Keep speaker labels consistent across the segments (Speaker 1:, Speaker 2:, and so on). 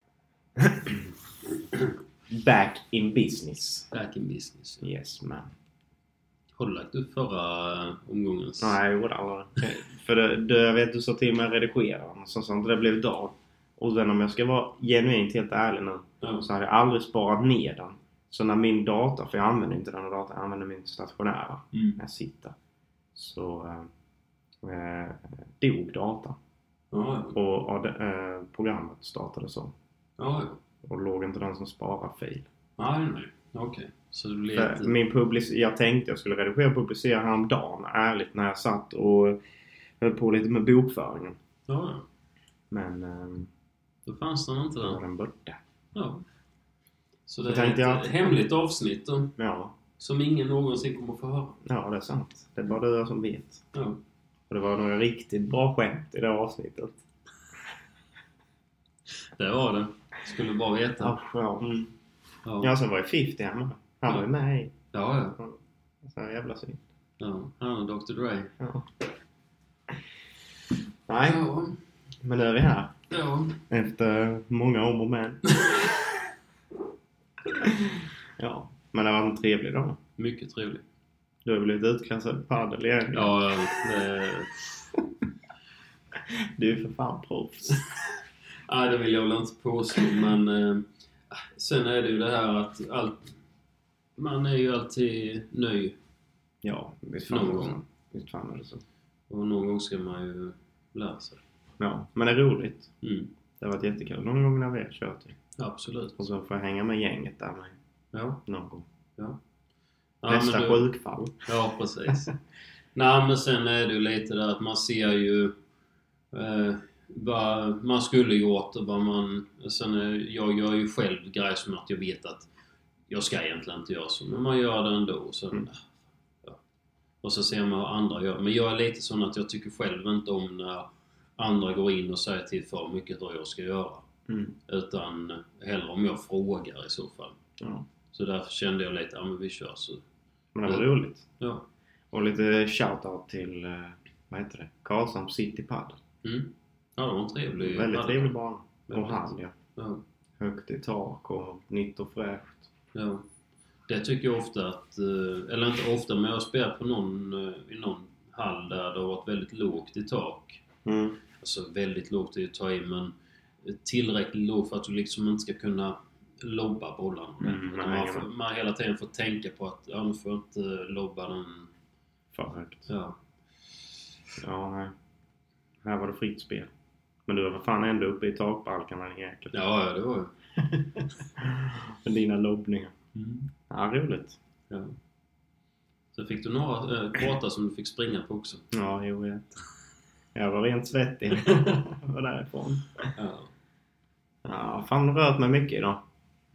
Speaker 1: back in business.
Speaker 2: Back in business.
Speaker 1: Yes, man.
Speaker 2: Har du lagt upp förra omgångens?
Speaker 1: Nej, jag gjorde aldrig det. För det, det, jag vet du sa till mig att redigera och sånt, sånt. Det blev dag. Och sen om jag ska vara genuint helt ärlig nu
Speaker 2: Ja.
Speaker 1: så hade jag aldrig sparat ner den. Så när min dator, för jag använder inte den datorn, jag använder min stationära
Speaker 2: Mm.
Speaker 1: när jag sitter. Så eh, eh, dog datorn.
Speaker 2: Ja, ja.
Speaker 1: Och ja, det, eh, programmet startade så.
Speaker 2: ja. ja.
Speaker 1: Och låg inte den som sparar fil.
Speaker 2: Nej, nej. Okej. Så det blir
Speaker 1: För
Speaker 2: ett...
Speaker 1: Min public- jag tänkte jag skulle redigera och publicera häromdagen ärligt när jag satt och höll på lite med bokföringen.
Speaker 2: Ja, ja.
Speaker 1: Men eh,
Speaker 2: Då fanns den inte
Speaker 1: då var
Speaker 2: där.
Speaker 1: den borta.
Speaker 2: Ja. Så
Speaker 1: Då
Speaker 2: det är ett
Speaker 1: tänkte jag att-
Speaker 2: hemligt avsnitt då,
Speaker 1: Ja,
Speaker 2: som ingen någonsin kommer få höra.
Speaker 1: ja, det är sant. Det är bara du som vet.
Speaker 2: Ja.
Speaker 1: Och det var några riktigt bra skämt i det avsnittet.
Speaker 2: Det var det. Skulle bara veta.
Speaker 1: Ja, ja. Mm.
Speaker 2: Ja.
Speaker 1: ja sen var ju 50 hemma. Han var ju med i.
Speaker 2: Ja, ja.
Speaker 1: Så jävla synd.
Speaker 2: ja. Han och Dr. Dre.
Speaker 1: Ja. Nej,
Speaker 2: Ja.
Speaker 1: men nu är vi här.
Speaker 2: ja.
Speaker 1: Efter många om och men. ja, men det var en trevlig dag.
Speaker 2: Mycket trevligt.
Speaker 1: Du har blivit utklassad i padel igen.
Speaker 2: Ja, ja. det,
Speaker 1: Du är för fan proffs.
Speaker 2: nej, det vill jag väl inte påstå, men eh, sen är det ju det här att allt, man är ju alltid ny
Speaker 1: Ja, visst
Speaker 2: Någon
Speaker 1: fan är det så.
Speaker 2: gång.
Speaker 1: Visst fan alltså. är det så.
Speaker 2: och någon gång ska man ju lära sig.
Speaker 1: Ja, men det är roligt.
Speaker 2: Mm.
Speaker 1: Det har varit jättekul någon gång när vi har kört. ju.
Speaker 2: Absolut.
Speaker 1: Och så får jag hänga med gänget där med
Speaker 2: Ja.
Speaker 1: någon gång.
Speaker 2: Ja,
Speaker 1: Nästa
Speaker 2: men du-
Speaker 1: sjukfall.
Speaker 2: Ja, precis. Nej, men sen är det ju lite där att man ser ju eh, vad man skulle gjort och vad man... Sen är, jag gör ju själv grejer som att jag vet att jag ska egentligen inte göra så, men man gör det ändå. Och, sen,
Speaker 1: Mm.
Speaker 2: ja. och så ser man vad andra gör. Men jag är lite sån att jag tycker själv inte om när andra går in och säger till för mycket vad jag ska göra.
Speaker 1: Mm.
Speaker 2: Utan hellre om jag frågar i så fall.
Speaker 1: Ja.
Speaker 2: Så därför kände jag lite, ja men vi kör så.
Speaker 1: Men det var
Speaker 2: Ja.
Speaker 1: roligt.
Speaker 2: Ja.
Speaker 1: Och lite shoutout till, eh, vad heter det? Karlshamn City Padel.
Speaker 2: Mm. Ja, det var en trevlig...
Speaker 1: Väldigt trevlig bana. Och
Speaker 2: Väldigt.
Speaker 1: hall, ja.
Speaker 2: Ja,
Speaker 1: Högt i tak och nytt och fräscht.
Speaker 2: ja. Det tycker jag ofta att... eh, Eller inte ofta, men jag har spelat på någon, eh, i någon hall där det har varit väldigt lågt i tak.
Speaker 1: Mm.
Speaker 2: Alltså väldigt lågt är ju att ta i, men tillräckligt lågt för att du liksom inte ska kunna lobba bollarna.
Speaker 1: Mm,
Speaker 2: Utan
Speaker 1: nej,
Speaker 2: man,
Speaker 1: nej.
Speaker 2: får, man hela tiden får tänka på att ja, nu får jag inte lobba den...
Speaker 1: För högt.
Speaker 2: Ja,
Speaker 1: Ja, nej. Här var det fritt spel. Men du var fan ändå uppe i takbalkarna din jäkel.
Speaker 2: ja ja, det var ju...
Speaker 1: Med dina lobbningar. Ja, roligt.
Speaker 2: Ja. Så fick du några eh, korta som du fick springa på också.
Speaker 1: Ja, jo, jag vet. Jag var rent svettig. Jag var därifrån.
Speaker 2: Ja.
Speaker 1: Ja, fan rört mig mycket idag.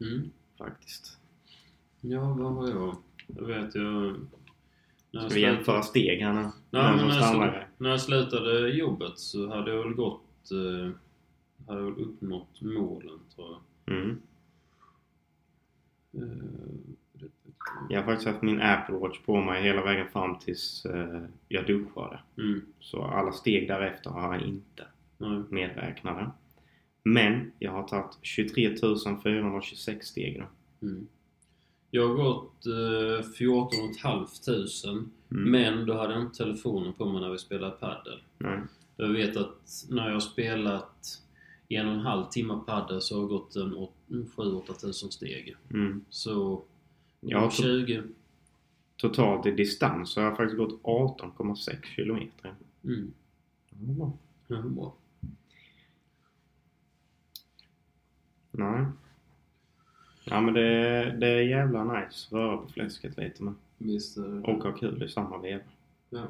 Speaker 2: Mm.
Speaker 1: Faktiskt.
Speaker 2: Ja, vad har jag? Jag vet jag... När
Speaker 1: Ska
Speaker 2: jag
Speaker 1: vi jämföra steg här nu?
Speaker 2: Nej,
Speaker 1: Vem
Speaker 2: men
Speaker 1: som
Speaker 2: när, jag
Speaker 1: stannar
Speaker 2: slu...
Speaker 1: här.
Speaker 2: när jag slutade jobbet så hade jag väl gått... Eh, hade jag väl uppnått målen, tror jag.
Speaker 1: Mm.
Speaker 2: Eh,
Speaker 1: Jag har faktiskt haft min Apple Watch på mig hela vägen fram tills eh, jag duschade.
Speaker 2: mm,
Speaker 1: Så alla steg därefter har jag inte
Speaker 2: nej,
Speaker 1: medräknade. Men jag har tagit 23 426 steg nu.
Speaker 2: mm. Jag har gått eh, 14 500
Speaker 1: Mm.
Speaker 2: men då hade jag inte telefonen på mig när vi spelade padel.
Speaker 1: Nej.
Speaker 2: Jag vet att när jag har spelat i en och en halv timme padel så har jag gått en åt- 7-8 tusen steg.
Speaker 1: Mm.
Speaker 2: Så
Speaker 1: Jag har to-
Speaker 2: 20.
Speaker 1: totalt i distans så har jag faktiskt gått 18,6 kilometer.
Speaker 2: Mm. Ja, bra.
Speaker 1: Nej. Ja men det, det är jävla nice. Röra på fläsket lite men.
Speaker 2: Visst är det.
Speaker 1: Och ha kul i samma veva.
Speaker 2: Ja.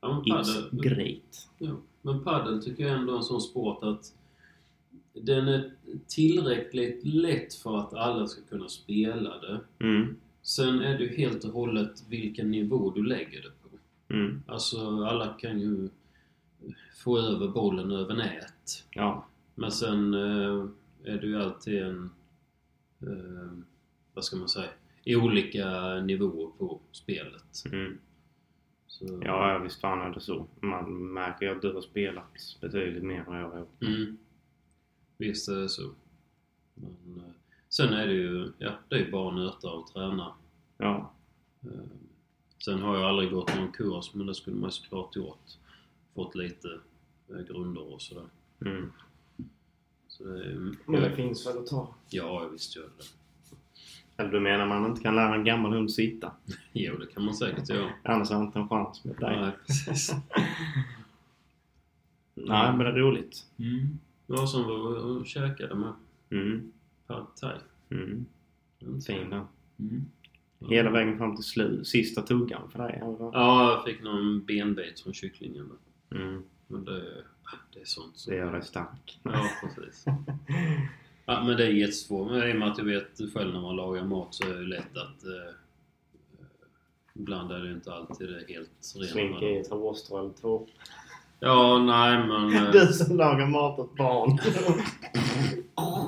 Speaker 2: Ja, men
Speaker 1: It's
Speaker 2: padel,
Speaker 1: great.
Speaker 2: ja. men padel tycker jag ändå är en sån sport att den är tillräckligt lätt för att alla ska kunna spela det.
Speaker 1: Mm.
Speaker 2: Sen är det ju helt och hållet vilken nivå du lägger det på.
Speaker 1: Mm.
Speaker 2: Alltså alla kan ju få över bollen över nät.
Speaker 1: Ja.
Speaker 2: Men sen eh, är det ju alltid en... Eh, vad ska man säga? Olika nivåer på spelet.
Speaker 1: Mm.
Speaker 2: Så,
Speaker 1: Ja, ja, visst fan är det så. Man märker ju att du har spelat betydligt mer än jag har gjort.
Speaker 2: Mm. Visst är det så. Men, eh, Sen är det ju, ja, det är ju bara att nöta och träna.
Speaker 1: Ja.
Speaker 2: Eh, Sen har jag aldrig gått någon kurs, men det skulle man ju såklart gjort. Fått lite eh, grunder och sådär.
Speaker 1: Mm.
Speaker 2: Så det är,
Speaker 1: Men det finns väl att ta?
Speaker 2: ja, jag visste ju det.
Speaker 1: Eller du menar man inte kan lära en gammal hund sitta?
Speaker 2: Jo, det kan man säkert göra.
Speaker 1: Annars har han inte en chans med dig.
Speaker 2: Nej, precis.
Speaker 1: Nej, men det är roligt.
Speaker 2: Mm. Ja, som var och och käkade med
Speaker 1: Mm.
Speaker 2: pad thai.
Speaker 1: Mm. Fin den.
Speaker 2: Mm.
Speaker 1: Hela vägen fram till slut, sista tuggan för dig. eller?
Speaker 2: Ja, jag fick någon benbit från kycklingen. där.
Speaker 1: Mm.
Speaker 2: Men det, ah, det är sånt som...
Speaker 1: Det gör dig stark.
Speaker 2: Ja, precis. Ja, men det är jättesvårt. Men i och med att jag vet själv när man lagar mat så är det ju lätt att... Eh, ibland är det inte alltid det helt
Speaker 1: Slinka i
Speaker 2: rena.
Speaker 1: ett hårstrå eller två.
Speaker 2: Ja, nej men... eh,
Speaker 1: Du som lagar mat åt barn.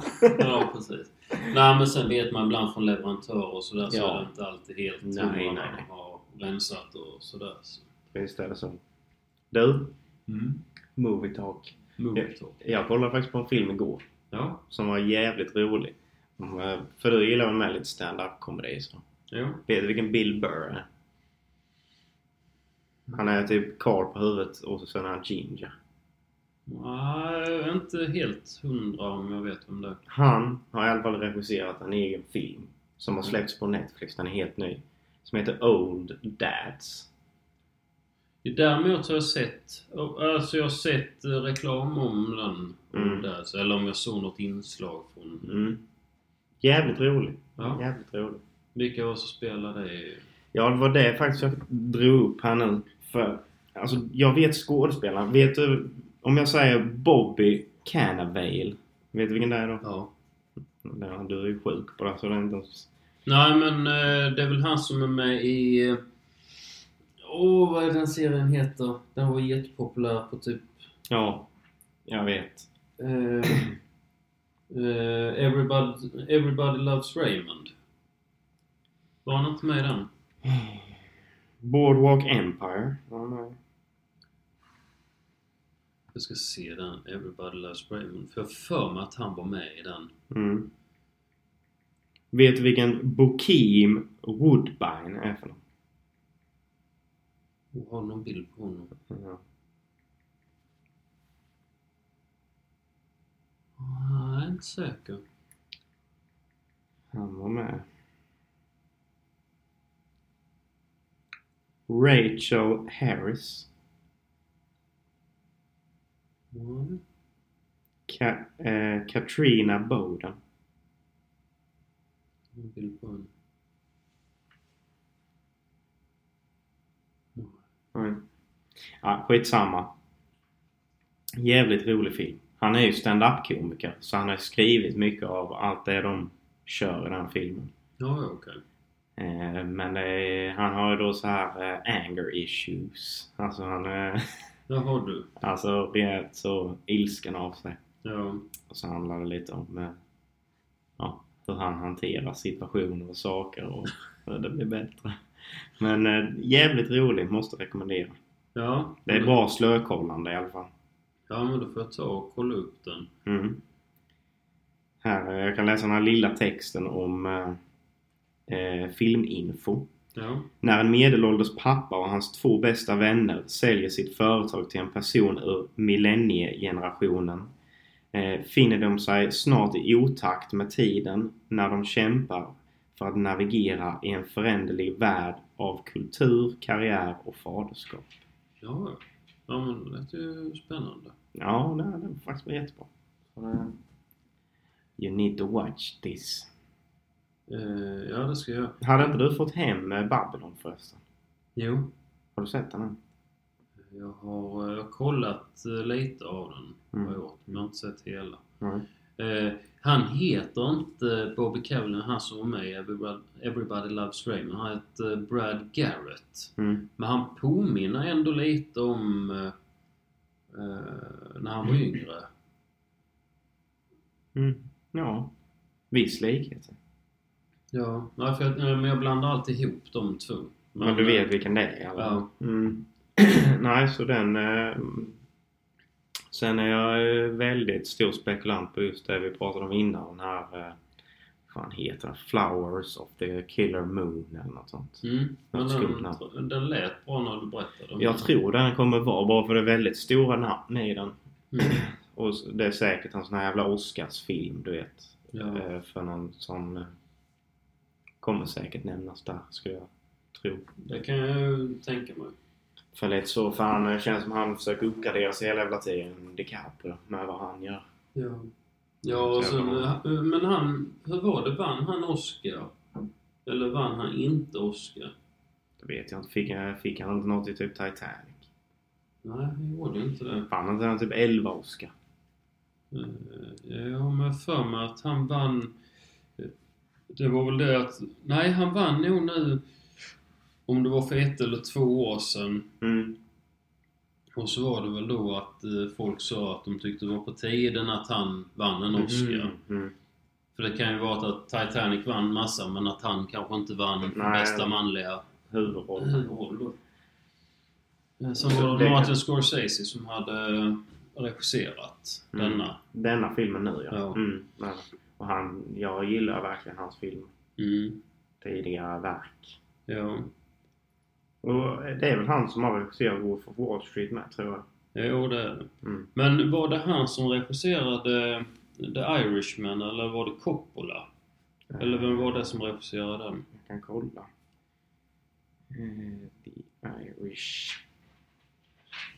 Speaker 2: Ja, precis. Nej, men sen vet man ibland från leverantörer och sådär så
Speaker 1: Ja.
Speaker 2: är det inte alltid helt
Speaker 1: Nej,
Speaker 2: hundra
Speaker 1: nej,
Speaker 2: när
Speaker 1: nej.
Speaker 2: man har rensat och sådär. Så.
Speaker 1: Visst är det så. Du,
Speaker 2: Mm.
Speaker 1: movie talk.
Speaker 2: Movie talk.
Speaker 1: Jag kollade faktiskt på en film igår
Speaker 2: Ja,
Speaker 1: som var jävligt rolig. Mm, För du gillar väl med lite stand-up comedy så.
Speaker 2: ja.
Speaker 1: Vet du vilken Bill Burr är? Han är typ karl på huvudet och sen är han ginger.
Speaker 2: Nej, jag är inte helt hundra om jag vet vem det är.
Speaker 1: Han har i alla fall regisserat en egen film som har släppts på Netflix. Den är helt ny. Som heter Old Dads.
Speaker 2: Däremot så har jag sett, alltså jag har sett eh, reklam om den.
Speaker 1: Mm.
Speaker 2: Där, så- eller om jag såg något inslag från...
Speaker 1: Mm. Jävligt rolig.
Speaker 2: Ja.
Speaker 1: Jävligt rolig.
Speaker 2: Vilka var det som spelade det?
Speaker 1: Ja, det var det faktiskt jag drog upp här nu. För, alltså, jag vet skådespelaren. Vet du, om jag säger Bobby Cannavale. Vet du vilken det är då?
Speaker 2: Ja.
Speaker 1: Ja, Du är ju sjuk på det, så det är inte ens...
Speaker 2: Nej men eh, det är väl han som är med i... eh, Åh, vad är den serien heter? Den var jättepopulär på typ...
Speaker 1: Ja, jag vet.
Speaker 2: Eh, eh, Everybody, Everybody Loves Raymond. Var han inte med i den?
Speaker 1: Boardwalk Empire. Ja, nej.
Speaker 2: Jag ska se den, Everybody Loves Raymond. För jag har för mig att han var med i den.
Speaker 1: Mm. Vet du vilken Bokeem Woodbine är för någon?
Speaker 2: Jag har någon bild på honom.
Speaker 1: Ja.
Speaker 2: Nej, jag är inte säker.
Speaker 1: Han var med. Rachel Harris.
Speaker 2: Nej.
Speaker 1: Ka- eh, Katrina Bowden.
Speaker 2: Jag har en bild på honom.
Speaker 1: Mm. Ja, skitsamma. Jävligt rolig film. Han är ju stand-up-komiker så han har skrivit mycket av allt det de kör i den här filmen.
Speaker 2: Ja, ja, okej.
Speaker 1: Eh, Men det är, han har ju då så här eh, anger issues. Alltså han är
Speaker 2: Där har du.
Speaker 1: alltså rejält så ilsken av sig.
Speaker 2: Ja.
Speaker 1: Och så handlar det lite om eh, ja, hur han hanterar situationer och saker och hur det blir bättre. Men eh, jävligt rolig, måste rekommendera.
Speaker 2: Ja.
Speaker 1: Det är bra slökollande i alla fall.
Speaker 2: Ja, men då får jag ta och kolla upp den.
Speaker 1: Mm. Här, eh, jag kan läsa den här lilla texten om eh, eh, filminfo.
Speaker 2: Ja.
Speaker 1: När en medelålders pappa och hans två bästa vänner säljer sitt företag till en person ur millenniegenerationen eh, finner de sig snart i otakt med tiden när de kämpar för att navigera i en föränderlig värld av kultur, karriär och faderskap.
Speaker 2: Ja, ja. Ja, men det lät ju spännande.
Speaker 1: Ja, nej, det var faktiskt jättebra. Så det- You need to watch this.
Speaker 2: Eh, ja, det ska jag.
Speaker 1: Hade inte du fått hem eh, Babylon förresten?
Speaker 2: Jo.
Speaker 1: Har du sett den än?
Speaker 2: Jag har, eh, jag har kollat eh, lite av den. Har jag gjort. Men jag har inte sett hela.
Speaker 1: Mm. Nej.
Speaker 2: Eh, han heter inte Bobby Cavalier, han som var med i Everybody, Everybody Loves Raymond. Han heter eh, Brad Garrett.
Speaker 1: Mm.
Speaker 2: Men han påminner ändå lite om eh, eh, när han var yngre.
Speaker 1: Mm. Ja. Viss likhet.
Speaker 2: Ja, nej, för jag, nej, men jag blandar alltid ihop de två. eh,
Speaker 1: Men du vet vilken det är? Eller?
Speaker 2: Ja.
Speaker 1: Mm. Nej, så den... Eh, sen är jag eh, väldigt stor spekulant på just det vi pratade om innan. Den här eh, vad han heter, Flowers of the Killer Moon eller något sånt.
Speaker 2: Mm. Men
Speaker 1: Något skumt
Speaker 2: den, den lät bra när du berättade.
Speaker 1: Jag tror den kommer vara bra för det är väldigt stora namn i den.
Speaker 2: Mm.
Speaker 1: Och s- det är säkert en sån här jävla Oscarsfilm du vet.
Speaker 2: Ja.
Speaker 1: Eh, För någon som eh, kommer säkert nämnas där skulle jag tro.
Speaker 2: Det kan jag ju tänka mig.
Speaker 1: För lite så, för han eh, känns som han försöker uppgradera sig hela jävla tiden. DiCaprio med vad han gör.
Speaker 2: Ja. Ja,
Speaker 1: Mm,
Speaker 2: och sen, eh, men han, hur var det? Vann han Oscar? Eller vann han inte Oscar?
Speaker 1: Det vet jag inte. Fick, jag- fick han inte något i typ Titanic?
Speaker 2: Nej, han gjorde inte det.
Speaker 1: Vann inte han typ 11 Oscar?
Speaker 2: Eh, Jag har med för mig att han vann... eh, Det var väl det att... Nej, han vann nog nu... Om det var för ett eller två år sedan.
Speaker 1: Mm.
Speaker 2: Och så var det väl då att eh, folk sa att de tyckte det var på tiden att han vann en Oscar.
Speaker 1: Mm. Mm.
Speaker 2: För det kan ju vara att Titanic vann massa men att han kanske inte vann för
Speaker 1: Nej.
Speaker 2: bästa manliga
Speaker 1: Huvudroll.
Speaker 2: huvudroll då. Eh, Sen
Speaker 1: Så
Speaker 2: var
Speaker 1: det
Speaker 2: det
Speaker 1: kan-
Speaker 2: Martin Scorsese som hade eh, regisserat
Speaker 1: Mm.
Speaker 2: denna.
Speaker 1: Denna filmen nu ja.
Speaker 2: Ja.
Speaker 1: Mm. ja. Och han, jag gillar verkligen hans film.
Speaker 2: Mm.
Speaker 1: Tidigare verk.
Speaker 2: Ja.
Speaker 1: Och det är väl han som har regisserat Wolf of Wall Street med tror jag.
Speaker 2: Jo, det är det.
Speaker 1: Mm.
Speaker 2: Men var det han som regisserade The Irishman eller var det Coppola? Eller vem var det som regisserade den?
Speaker 1: Jag kan kolla. Eh, The Irish.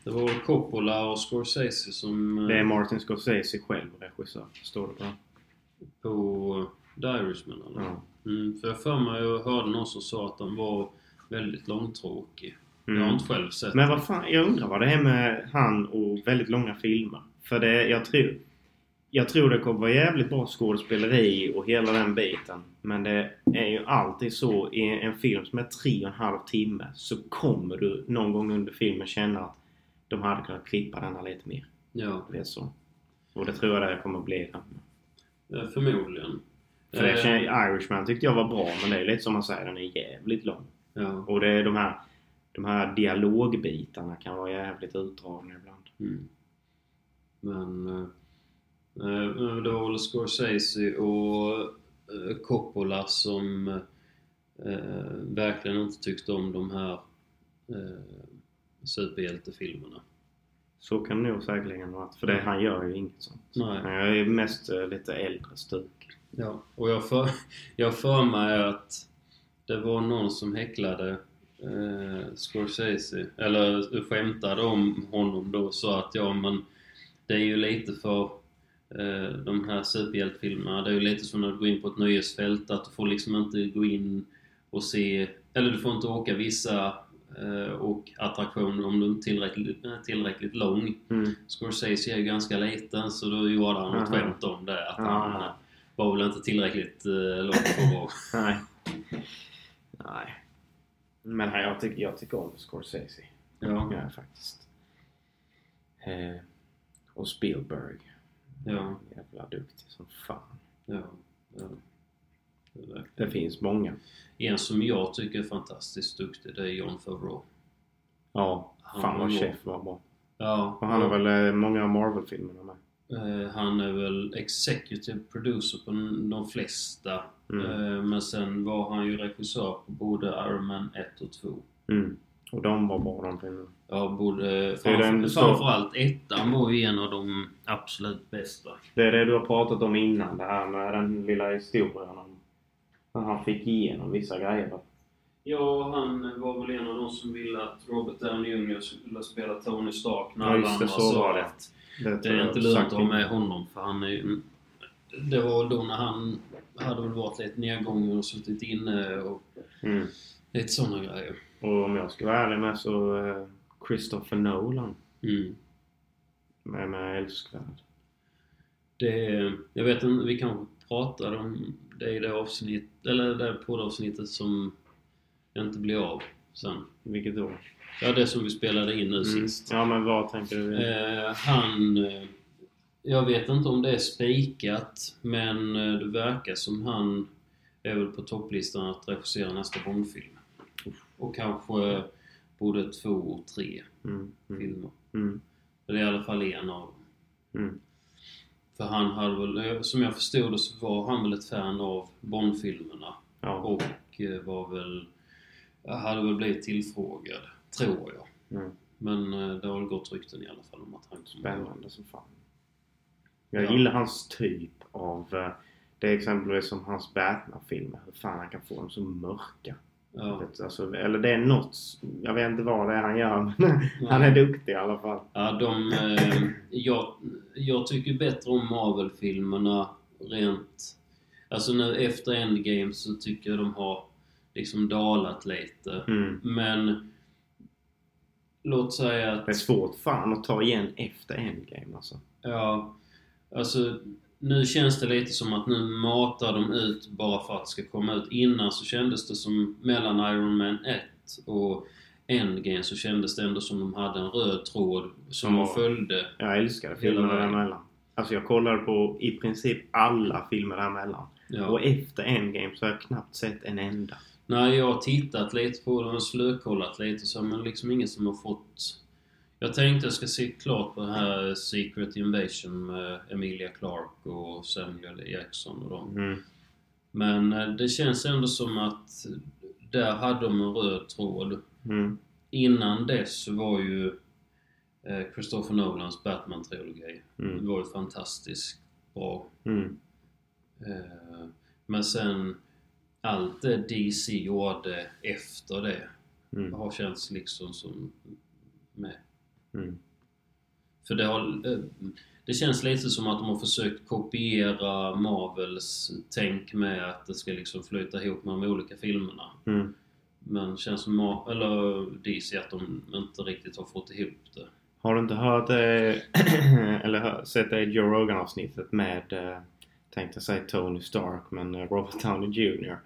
Speaker 2: Det var Coppola och Scorsese som... eh,
Speaker 1: Det är Martin Scorsese själv regissör. Står det på.
Speaker 2: På The Irishman eller?
Speaker 1: Ja.
Speaker 2: Mm, för jag för mig jag hörde någon som sa att den var väldigt långtråkig. Jag har
Speaker 1: Mm.
Speaker 2: inte själv sett
Speaker 1: Men vad fan, jag undrar vad det är med han och väldigt långa filmer. För det, jag tror... Jag tror det kommer vara jävligt bra skådespeleri och hela den biten. Men det är ju alltid så i en film som är tre och en halv timme så kommer du någon gång under filmen känna att de hade kunnat klippa denna lite mer.
Speaker 2: Ja,
Speaker 1: Det är så. Och det tror jag det kommer bli. här.
Speaker 2: eh, förmodligen.
Speaker 1: För det
Speaker 2: Eh,
Speaker 1: känner, Irishman tyckte jag var bra men det är lite som man säger, den är jävligt lång.
Speaker 2: Ja.
Speaker 1: Och det är de här, de här dialogbitarna kan vara jävligt utdragna ibland.
Speaker 2: Mm. Men eh, eh, det var väl Scorsese och eh, Coppola som eh, verkligen inte tyckte om de här eh, superhjältefilmerna.
Speaker 1: Så kan det nog säkerligen vara. För det, han gör ju inget sånt.
Speaker 2: Nej.
Speaker 1: Men jag är mest eh, lite äldre stuk.
Speaker 2: Ja, och jag för, jag för mig att det var någon som häcklade eh, Scorsese, eller skämtade om honom då och sa att ja men det är ju lite för eh, de här superhjältefilmerna, det är ju lite som när du går in på ett nöjesfält att du får liksom inte gå in och se, eller du får inte åka vissa eh, och attraktioner om du inte är tillräckligt, eh, tillräckligt lång.
Speaker 1: Mm.
Speaker 2: Scorsese är ju ganska liten så då gjorde han något
Speaker 1: Aha.
Speaker 2: skämt om det. Att
Speaker 1: Ja.
Speaker 2: han eh, var väl inte tillräckligt eh, lång för att vara...
Speaker 1: Nej. Nej. Men här, jag, tycker, jag tycker om Scorsese.
Speaker 2: Ja,
Speaker 1: Ja, faktiskt. Eh, och Spielberg.
Speaker 2: ja,
Speaker 1: Jävla duktig som fan.
Speaker 2: ja. ja. Det är verkligen-
Speaker 1: Det finns många.
Speaker 2: En som jag tycker är fantastiskt duktig det är John Favreau.
Speaker 1: Ja.
Speaker 2: Han
Speaker 1: Fan
Speaker 2: var
Speaker 1: vad
Speaker 2: bra.
Speaker 1: chef var bra.
Speaker 2: Ja,
Speaker 1: Och han har väl eh, många av Marvel-filmerna med.
Speaker 2: eh, han är väl executive producer på n- de flesta.
Speaker 1: Mm.
Speaker 2: Eh, men sen var han ju regissör på både Iron Man 1 och 2.
Speaker 1: Mm. Och de var bra de filmerna.
Speaker 2: Ja, både,
Speaker 1: är den-
Speaker 2: framför, framförallt ettan var ju en av de absolut bästa.
Speaker 1: Det är det du har pratat om innan. Det här med den lilla historien om när han fick igenom vissa grejer.
Speaker 2: Ja, han var väl en av de som ville att Robert Downey Jr skulle spela Tony Stark när
Speaker 1: Ja,
Speaker 2: alla
Speaker 1: just det,
Speaker 2: andra
Speaker 1: så var
Speaker 2: sa
Speaker 1: det.
Speaker 2: att det
Speaker 1: tror
Speaker 2: är
Speaker 1: jag
Speaker 2: inte lönt att
Speaker 1: sagt
Speaker 2: ha med honom för han är ju- Det var väl då när han hade väl varit lite nedgången och suttit inne och
Speaker 1: Mm.
Speaker 2: lite sådana grejer.
Speaker 1: Och om jag ska vara ärlig med så eh, Christopher Nolan
Speaker 2: Mm.
Speaker 1: med, med älskvärd.
Speaker 2: Det, jag vet inte, vi kanske pratade om det i det avsnitt, eller det poddavsnittet som inte blir av sen.
Speaker 1: Vilket då?
Speaker 2: Ja, det som vi spelade in nu
Speaker 1: Mm.
Speaker 2: sist.
Speaker 1: Ja men vad tänker du?
Speaker 2: Eh, han... eh, Jag vet inte om det är spikat, men eh, det verkar som han är väl på topplistan att regissera nästa Bondfilm. Och kanske eh, både två och tre
Speaker 1: Mm. Mm.
Speaker 2: filmer.
Speaker 1: Mm.
Speaker 2: Eller i alla fall en av dem.
Speaker 1: Mm.
Speaker 2: För han hade väl, eh, som jag förstod det så var han väl ett fan av Bond-filmerna.
Speaker 1: Ja.
Speaker 2: Och eh, var väl... Hade väl blivit tillfrågad, tror jag.
Speaker 1: Mm.
Speaker 2: Men eh, det har väl gått rykten i alla fall om att han kommer
Speaker 1: Spännande som fan. Jag
Speaker 2: Ja.
Speaker 1: gillar hans typ av... eh, Det är exempelvis som hans Batman-filmer. Hur fan han kan få dem så mörka.
Speaker 2: Ja.
Speaker 1: Vet, Alltså, eller det är något... Jag vet inte vad det är han gör men han är duktig i alla fall.
Speaker 2: Ja, de, eh, jag, jag tycker bättre om Marvel-filmerna rent... Alltså nu efter Endgame så tycker jag de har liksom dalat lite.
Speaker 1: Mm.
Speaker 2: Men låt säga att...
Speaker 1: Det är svårt fan att ta igen efter Endgame alltså.
Speaker 2: Ja, alltså nu känns det lite som att nu matar de ut bara för att det ska komma ut. Innan så kändes det som mellan Iron Man 1 och Endgame så kändes det ändå som de hade en röd tråd som
Speaker 1: Ja.
Speaker 2: de följde.
Speaker 1: Jag älskade
Speaker 2: Hela
Speaker 1: filmer
Speaker 2: vägen.
Speaker 1: däremellan. Alltså jag kollade på i princip alla filmer däremellan.
Speaker 2: Ja.
Speaker 1: Och efter Endgame så har jag knappt sett en enda.
Speaker 2: Nej, jag har tittat lite på dem och slökollat lite så, men liksom ingen som har fått... Jag tänkte jag ska se klart på det här Secret Invasion med Emilia Clarke och Samuel Jackson och dem.
Speaker 1: Mm.
Speaker 2: Men eh, det känns ändå som att där hade de en röd tråd.
Speaker 1: Mm.
Speaker 2: Innan dess var ju eh, Christopher Nolans Batman-trilogi. Det
Speaker 1: Mm.
Speaker 2: var ju fantastiskt bra.
Speaker 1: Mm.
Speaker 2: Eh, Men sen allt det DC gjorde efter det
Speaker 1: Mm.
Speaker 2: har känts liksom som med.
Speaker 1: Mm.
Speaker 2: För det har... eh, Det känns lite som att de har försökt kopiera Marvels tänk med att det ska liksom flyta ihop med de olika filmerna.
Speaker 1: Mm.
Speaker 2: Men känns som Mar- eller DC att de inte riktigt har fått ihop det.
Speaker 1: Har du inte hört eh, eller hör, sett det Joe Rogan avsnittet med eh, tänkte säga Tony Stark men eh, Robert Downey Jr.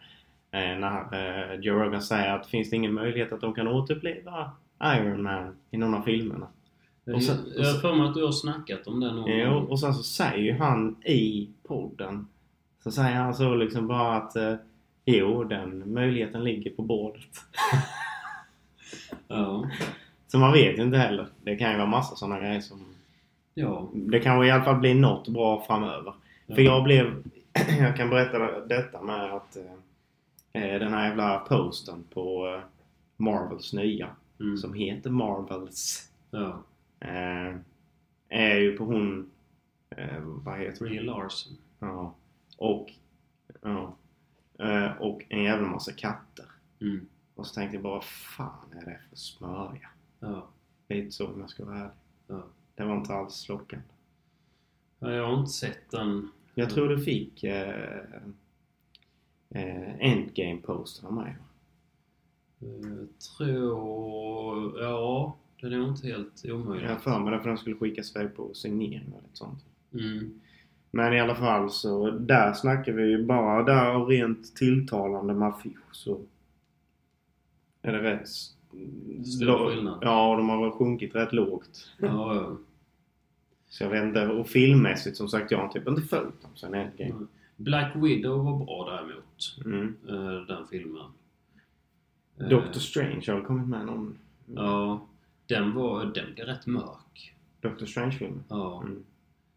Speaker 1: Eh, när eh, Joe Rogan säger att finns det ingen möjlighet att de kan återuppliva Iron Man i någon av filmerna? Och sen-
Speaker 2: jag har för mig att du har snackat om det någon
Speaker 1: Jo,
Speaker 2: gång.
Speaker 1: och sen så säger ju han i podden så säger han så liksom bara att eh, jo, den möjligheten ligger på bordet.
Speaker 2: Ja.
Speaker 1: Så man vet ju inte heller. Det kan ju vara massa sådana grejer som
Speaker 2: ja.
Speaker 1: Det kan i alla fall bli något bra framöver. För jag blev... jag kan berätta detta med att eh, den här jävla posten på eh, Marvels nya
Speaker 2: Mm.
Speaker 1: som heter Marvels
Speaker 2: Ja.
Speaker 1: eh, är ju på hon... Eh, vad heter
Speaker 2: Brie
Speaker 1: hon?
Speaker 2: Larson.
Speaker 1: Ja. Och... Ja. Eh, och en jävla massa katter.
Speaker 2: Mm.
Speaker 1: Och så tänkte jag bara, vad fan är det för smörja?
Speaker 2: Ja.
Speaker 1: Lite så om jag ska vara ärlig.
Speaker 2: Ja.
Speaker 1: Det var inte alls lockande.
Speaker 2: ja. Jag har inte sett den.
Speaker 1: Jag tror du fick eh, eh, Endgame-posten av mig.
Speaker 2: Jag Eh, tror... Ja. Den är nog inte helt
Speaker 1: Jag
Speaker 2: omöjlig.
Speaker 1: har för mig det för den skulle skickas iväg på signering eller ett sånt.
Speaker 2: Mm.
Speaker 1: Men i alla fall så, där snackar vi ju bara där och rent tilltalande med affisch så är det rätt s-
Speaker 2: Stor
Speaker 1: lo-
Speaker 2: skillnad.
Speaker 1: Ja, och de har väl sjunkit rätt lågt.
Speaker 2: Ja, ja.
Speaker 1: Så jag vet inte. Och filmmässigt som sagt, jag har typ inte följt dem sen Endgame.
Speaker 2: Mm. Black Widow var bra däremot.
Speaker 1: Mm.
Speaker 2: eh, Den filmen. Eh,
Speaker 1: Doctor Strange har väl kommit med någon
Speaker 2: Ja. Den var... Den blev rätt mörk.
Speaker 1: Doctor Strange-film?
Speaker 2: Ja.
Speaker 1: Mm.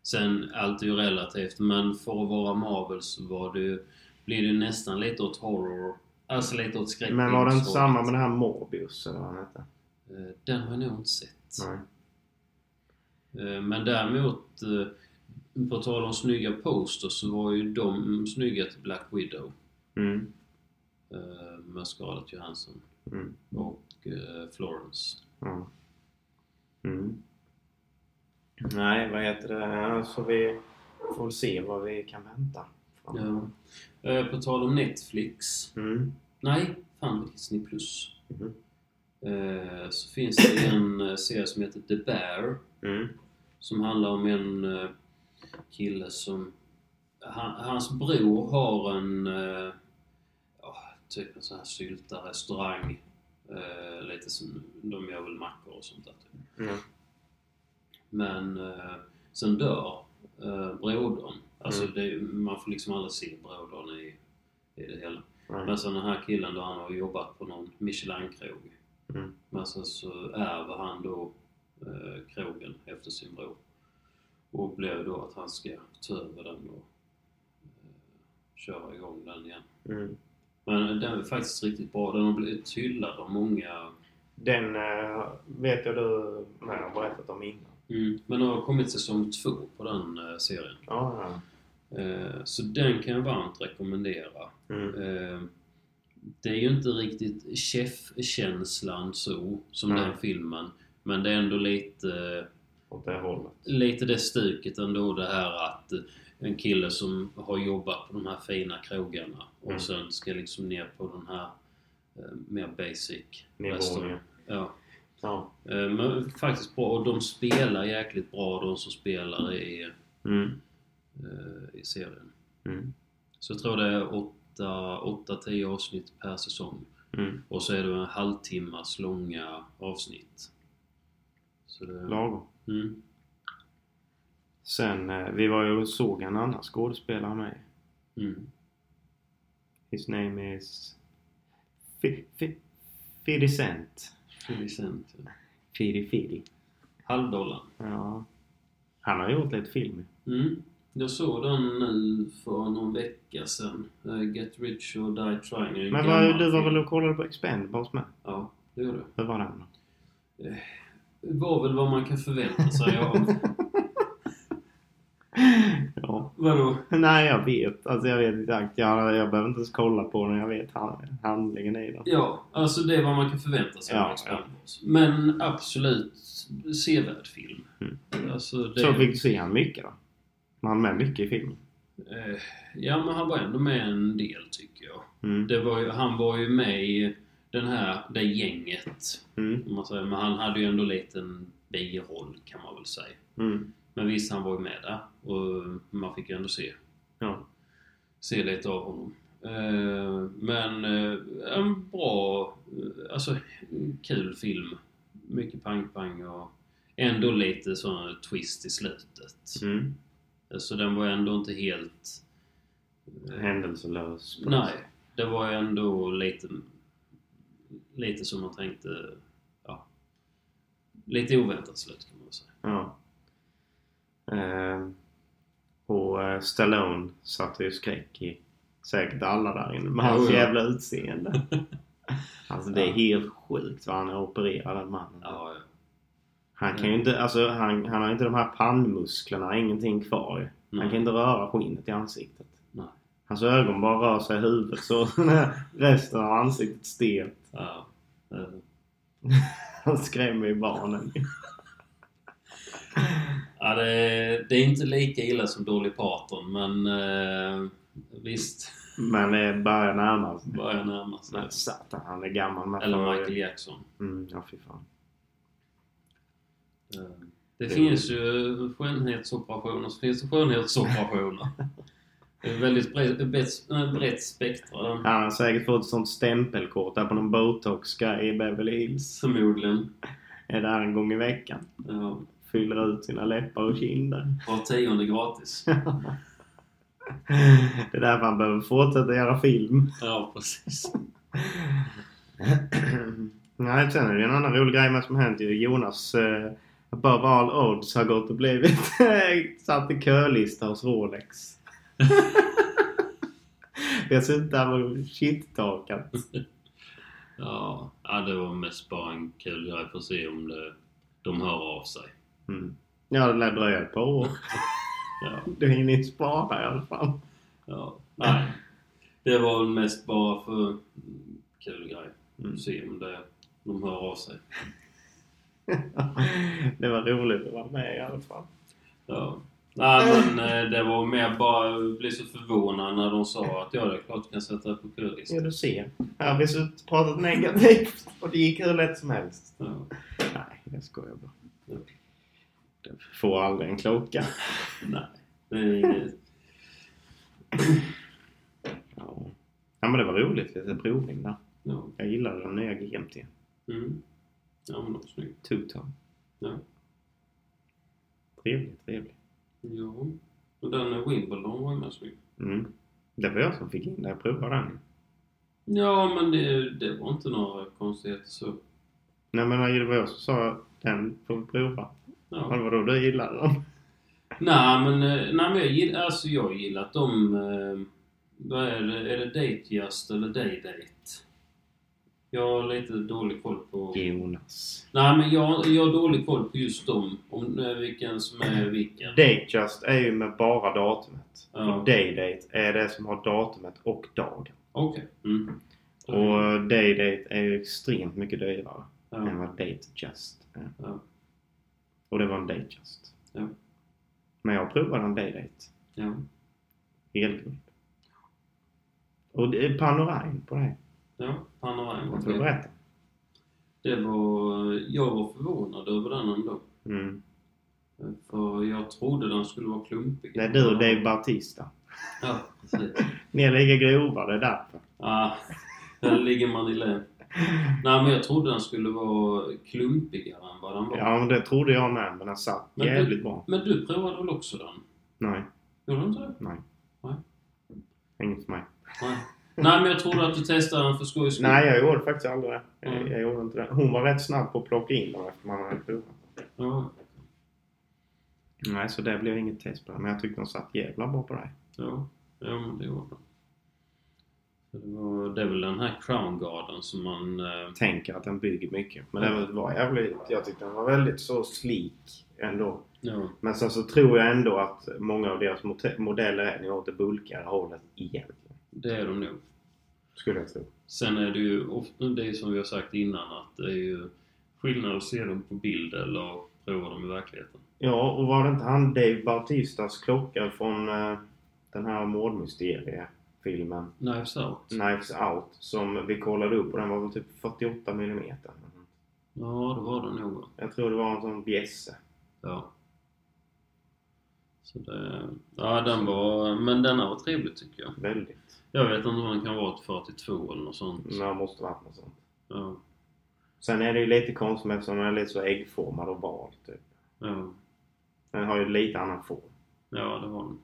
Speaker 2: Sen, allt är ju relativt, men för att vara Marvel så var det ju, blir det ju nästan lite åt horror. Alltså lite åt skräck.
Speaker 1: Men var det inte
Speaker 2: så-
Speaker 1: samma med den här Morbius eller vad han hette?
Speaker 2: Eh, Den har jag nog inte sett.
Speaker 1: Nej.
Speaker 2: Eh, Men däremot, eh, på tal om snygga posters så var ju de snygga till Black Widow
Speaker 1: Mm.
Speaker 2: eh, med Scarlett Johansson
Speaker 1: Mm.
Speaker 2: och eh, Florence.
Speaker 1: Ja. Mm. Nej, vad heter det? Så vi får se vad vi kan vänta.
Speaker 2: Ja. Eh, På tal om Netflix.
Speaker 1: Mm.
Speaker 2: Nej, fan med Disney Plus.
Speaker 1: Mhm.
Speaker 2: Eh, Så finns det en eh, serie som heter The Bear
Speaker 1: Mm.
Speaker 2: som handlar om en eh, kille som... Han, hans bror har en... eh, ja, Typ en sån här syltarestaurang. Eh, Lite som... De gör väl mackor och sånt där typ.
Speaker 1: Mm.
Speaker 2: Men eh, sen dör eh, brodern. Alltså
Speaker 1: Mm.
Speaker 2: det, är- man får liksom aldrig se brodern i, i det hela.
Speaker 1: Nej.
Speaker 2: Men sen den här killen då, han har jobbat på någon Michelin-krog.
Speaker 1: Mm.
Speaker 2: Men sen så ärver han då eh, krogen efter sin bror. Och blev då att han ska ta över den och eh, köra igång den igen.
Speaker 1: Mm.
Speaker 2: Men den är faktiskt riktigt bra. Den har blivit hyllad av många.
Speaker 1: Den eh, vet jag du nej, jag har berättat om innan.
Speaker 2: Men det har kommit säsong två på den eh, serien.
Speaker 1: Ja,
Speaker 2: Eh, Så den kan jag varmt rekommendera.
Speaker 1: ja. Mm.
Speaker 2: Eh, Det är ju inte riktigt chef-känslan så, som
Speaker 1: Nej.
Speaker 2: den filmen. Men det är ändå lite,
Speaker 1: Åt det hållet.
Speaker 2: lite det stuket ändå det här att en kille som har jobbat på de här fina krogarna och
Speaker 1: Mm.
Speaker 2: sen ska liksom ner på den här eh, mer basic
Speaker 1: Nivån ja.
Speaker 2: restaurang. Ja.
Speaker 1: ja.
Speaker 2: Eh, Men faktiskt bra och de spelar jäkligt bra de som spelar i,
Speaker 1: Mm.
Speaker 2: eh, i serien.
Speaker 1: Mm.
Speaker 2: Så jag tror det är 8-10 avsnitt per säsong.
Speaker 1: Mm.
Speaker 2: Och så är det en halvtimmas långa avsnitt. Så det,
Speaker 1: Lagom.
Speaker 2: mm.
Speaker 1: Sen, eh, vi var ju och såg en annan skådespelare med.
Speaker 2: Mm.
Speaker 1: His name is... Fi- Fi- Fidicent.
Speaker 2: Till exempel.
Speaker 1: Fidi Fidi.
Speaker 2: Halvdollarn.
Speaker 1: Ja. Han har gjort lite film.
Speaker 2: Mm. Jag såg den nu för någon vecka sedan. Eh, Get Rich or Die Trying.
Speaker 1: Men
Speaker 2: En gammal
Speaker 1: vad, du var
Speaker 2: film.
Speaker 1: väl och kollade på Expendables med?
Speaker 2: Ja, det gjorde jag.
Speaker 1: Hur var den?
Speaker 2: Det var väl vad man kan förvänta sig av...
Speaker 1: ja.
Speaker 2: Vadå?
Speaker 1: Nej, jag vet. Alltså jag vet exakt. Jag, jag behöver inte ens kolla på den. Jag vet han- handlingen i den.
Speaker 2: Ja, alltså det är vad man kan förvänta sig
Speaker 1: Ja,
Speaker 2: av Expendables. Men absolut sevärd film.
Speaker 1: Mm.
Speaker 2: Alltså det,
Speaker 1: Så fick du se han mycket då? Var han med mycket i filmen?
Speaker 2: eh, ja, men han var ändå med en del tycker jag.
Speaker 1: Mm.
Speaker 2: Det var ju, han var ju med i den här, det gänget.
Speaker 1: Mm.
Speaker 2: Om man säger. Men han hade ju ändå en liten biroll kan man väl säga.
Speaker 1: Mm.
Speaker 2: Men visst, han var ju med där. Och man fick ju ändå se,
Speaker 1: Ja.
Speaker 2: se lite av honom. Eh, men eh, en bra, eh, alltså kul film. Mycket pang-pang och ändå lite sån twist i slutet.
Speaker 1: Mm.
Speaker 2: Så den var ändå inte helt...
Speaker 1: Mm. Händelselös. på något
Speaker 2: Nej, det var ju ändå lite, lite som man tänkte, ja, lite oväntat slut kan man väl säga.
Speaker 1: Ja. Eh, och eh, Stallone satte ju skräck i säkert alla där inne med hans
Speaker 2: Jo, ja.
Speaker 1: jävla utseende. alltså det är
Speaker 2: Ja.
Speaker 1: helt sjukt vad han är opererad den mannen.
Speaker 2: Ja, ja.
Speaker 1: Han kan ju inte, alltså han, han har inte de här pannmusklerna, ingenting kvar ju. Han
Speaker 2: Nej.
Speaker 1: kan inte röra skinnet i ansiktet.
Speaker 2: Nej.
Speaker 1: Hans ögon bara rör sig i huvudet så resten av ansiktet stelt.
Speaker 2: ja. Eh,
Speaker 1: Han skrämmer ju barnen.
Speaker 2: ja det, det är inte lika illa som Dolly Parton, men eh, visst,
Speaker 1: Men det börjar närma sig.
Speaker 2: börjar närma sig.
Speaker 1: Men satan, han är gammal. Man
Speaker 2: Eller
Speaker 1: får-
Speaker 2: Michael Jackson.
Speaker 1: Mm, ja fy fan.
Speaker 2: Eh, Det
Speaker 1: Det-
Speaker 2: finns ju skönhetsoperationer så finns det skönhetsoperationer. Det är ett väldigt brett, brett, brett spektra.
Speaker 1: Han har säkert fått ett sånt stämpelkort där på någon botox-grej i Beverly Hills.
Speaker 2: Förmodligen.
Speaker 1: Är där en gång i veckan.
Speaker 2: Ja.
Speaker 1: Fyller ut sina läppar och kinder.
Speaker 2: Var tionde gratis.
Speaker 1: Det är därför han behöver fortsätta göra film.
Speaker 2: Ja, precis.
Speaker 1: Mm. Nej, sen är det en annan rolig grej med som hänt ju. Jonas eh, above all odds har gått och blivit eh, satt i kölista hos Rolex. Jag suttit där och shit-talkat.
Speaker 2: Ja, ja, det var mest bara en kul grej för att se om det, de hör av sig.
Speaker 1: Mm. Ja, det lär dröja ett par år.
Speaker 2: Ja,
Speaker 1: Du hinner inte spara i alla fall.
Speaker 2: ja. Nej, det var väl mest bara för mm, kul grej.
Speaker 1: Mm.
Speaker 2: Se om det, de hör av sig.
Speaker 1: det var roligt att vara med i alla fall.
Speaker 2: Ja. Nej, men eh, det var mer bara jag blev så förvånad när de sa att ja, det är klart du kan sätta dig på
Speaker 1: Ja,
Speaker 2: kölistan.
Speaker 1: du ser. Här har vi suttit och pratat negativt och det gick hur lätt som helst.
Speaker 2: Ja.
Speaker 1: Nej, jag skojar bara.
Speaker 2: Ja.
Speaker 1: Du får aldrig en klocka.
Speaker 2: Nej, det är inget.
Speaker 1: Ja. ja, men det var roligt. Lite provning där.
Speaker 2: Ja.
Speaker 1: Jag gillade den nya GMT.
Speaker 2: Mm. Ja, men det var snyggt.
Speaker 1: Two-tone.
Speaker 2: Ja.
Speaker 1: Trevligt, trevligt.
Speaker 2: Ja. Och den eh, Wimbledon var ju med snygg.
Speaker 1: Mm. Det var jag som fick in den. Jag provade den.
Speaker 2: Ja, men det, det var inte några konstigheter så.
Speaker 1: Nej, men det var jag som sa den får vi prova.
Speaker 2: Ja.
Speaker 1: Mm. Ja, det var då du gillade den.
Speaker 2: Nej men, eh, nej, men jag gillar, alltså jag gillar att de... eh, Vad är det? Är det Datejust eller Daydate? Jag har lite dålig koll på...
Speaker 1: Jonas.
Speaker 2: Nej men jag, jag har dålig koll på just dem. Om eh, vilken som är vilken.
Speaker 1: Datejust är ju med bara datumet.
Speaker 2: Ja.
Speaker 1: Och Daydate är det som har datumet och dagen.
Speaker 2: Okej. Mm.
Speaker 1: Och Daydate är ju extremt mycket dyrare än
Speaker 2: ja.
Speaker 1: vad Datejust är.
Speaker 2: Ja.
Speaker 1: Och det var en Datejust.
Speaker 2: Ja.
Speaker 1: Men jag provade en Daydate.
Speaker 2: ja.
Speaker 1: Elguld. Och det är Panorama på det.
Speaker 2: Ja, han har en.
Speaker 1: Jag får berätta.
Speaker 2: Det var... Jag var förvånad över den ändå.
Speaker 1: Mm.
Speaker 2: För jag trodde den skulle vara klumpig.
Speaker 1: Det är du och Dave Bautista.
Speaker 2: Ja, precis.
Speaker 1: Ni ligger grova, det är därför.
Speaker 2: Ja, där ligger man i lä. Nej, men jag trodde den skulle vara klumpigare än vad den var.
Speaker 1: Ja, men det trodde jag med, men den satt
Speaker 2: Men du-
Speaker 1: jävligt bra.
Speaker 2: Men du provade väl också den?
Speaker 1: Nej,
Speaker 2: Gjorde du inte det?
Speaker 1: nej.
Speaker 2: Nej.
Speaker 1: Inget för mig.
Speaker 2: Nej. Nej, men jag trodde att du testade den för skojs skull.
Speaker 1: Nej, jag gjorde faktiskt aldrig det. Jag,
Speaker 2: Mm.
Speaker 1: jag gjorde inte det. Hon var rätt snabb på att plocka in dem efter man hade provat.
Speaker 2: Ja,
Speaker 1: Nej, så det blev inget test på det. Men jag tyckte de satt jävla bra på det.
Speaker 2: ja, ja men det gjorde den. Så Det, var, det är väl den här Crown Garden som man... Eh,
Speaker 1: Jag tänker att den bygger mycket. Men det var jävligt... Jag tyckte den var väldigt så slik ändå.
Speaker 2: ja,
Speaker 1: Men sen så tror jag ändå att många av deras mote- modeller är nog åt det bulkigare hållet egentligen.
Speaker 2: det är de nog.
Speaker 1: Skulle jag tro.
Speaker 2: Sen är det ju ofta det som vi har sagt innan att det är ju skillnad att se dem på bild eller prova dem i verkligheten.
Speaker 1: Ja, och var det inte han Dave Bautistas klocka från eh, den här mordmysteriefilmen
Speaker 2: Knives Out.
Speaker 1: Knives Out som vi kollade upp och den var väl typ 48 mm.
Speaker 2: Ja, det var det nog. va?
Speaker 1: Jag tror det var en sån bjässe.
Speaker 2: Ja. Så det, ja, den var... Men denna var trevlig tycker jag.
Speaker 1: Väldigt.
Speaker 2: Jag vet inte om den kan vara ett 42 eller något sånt.
Speaker 1: Men det måste varit något sånt.
Speaker 2: Ja,
Speaker 1: Sen är det ju lite konstigt eftersom den är lite så äggformad och val typ.
Speaker 2: ja,
Speaker 1: Den har ju lite annan form.
Speaker 2: ja, det var den.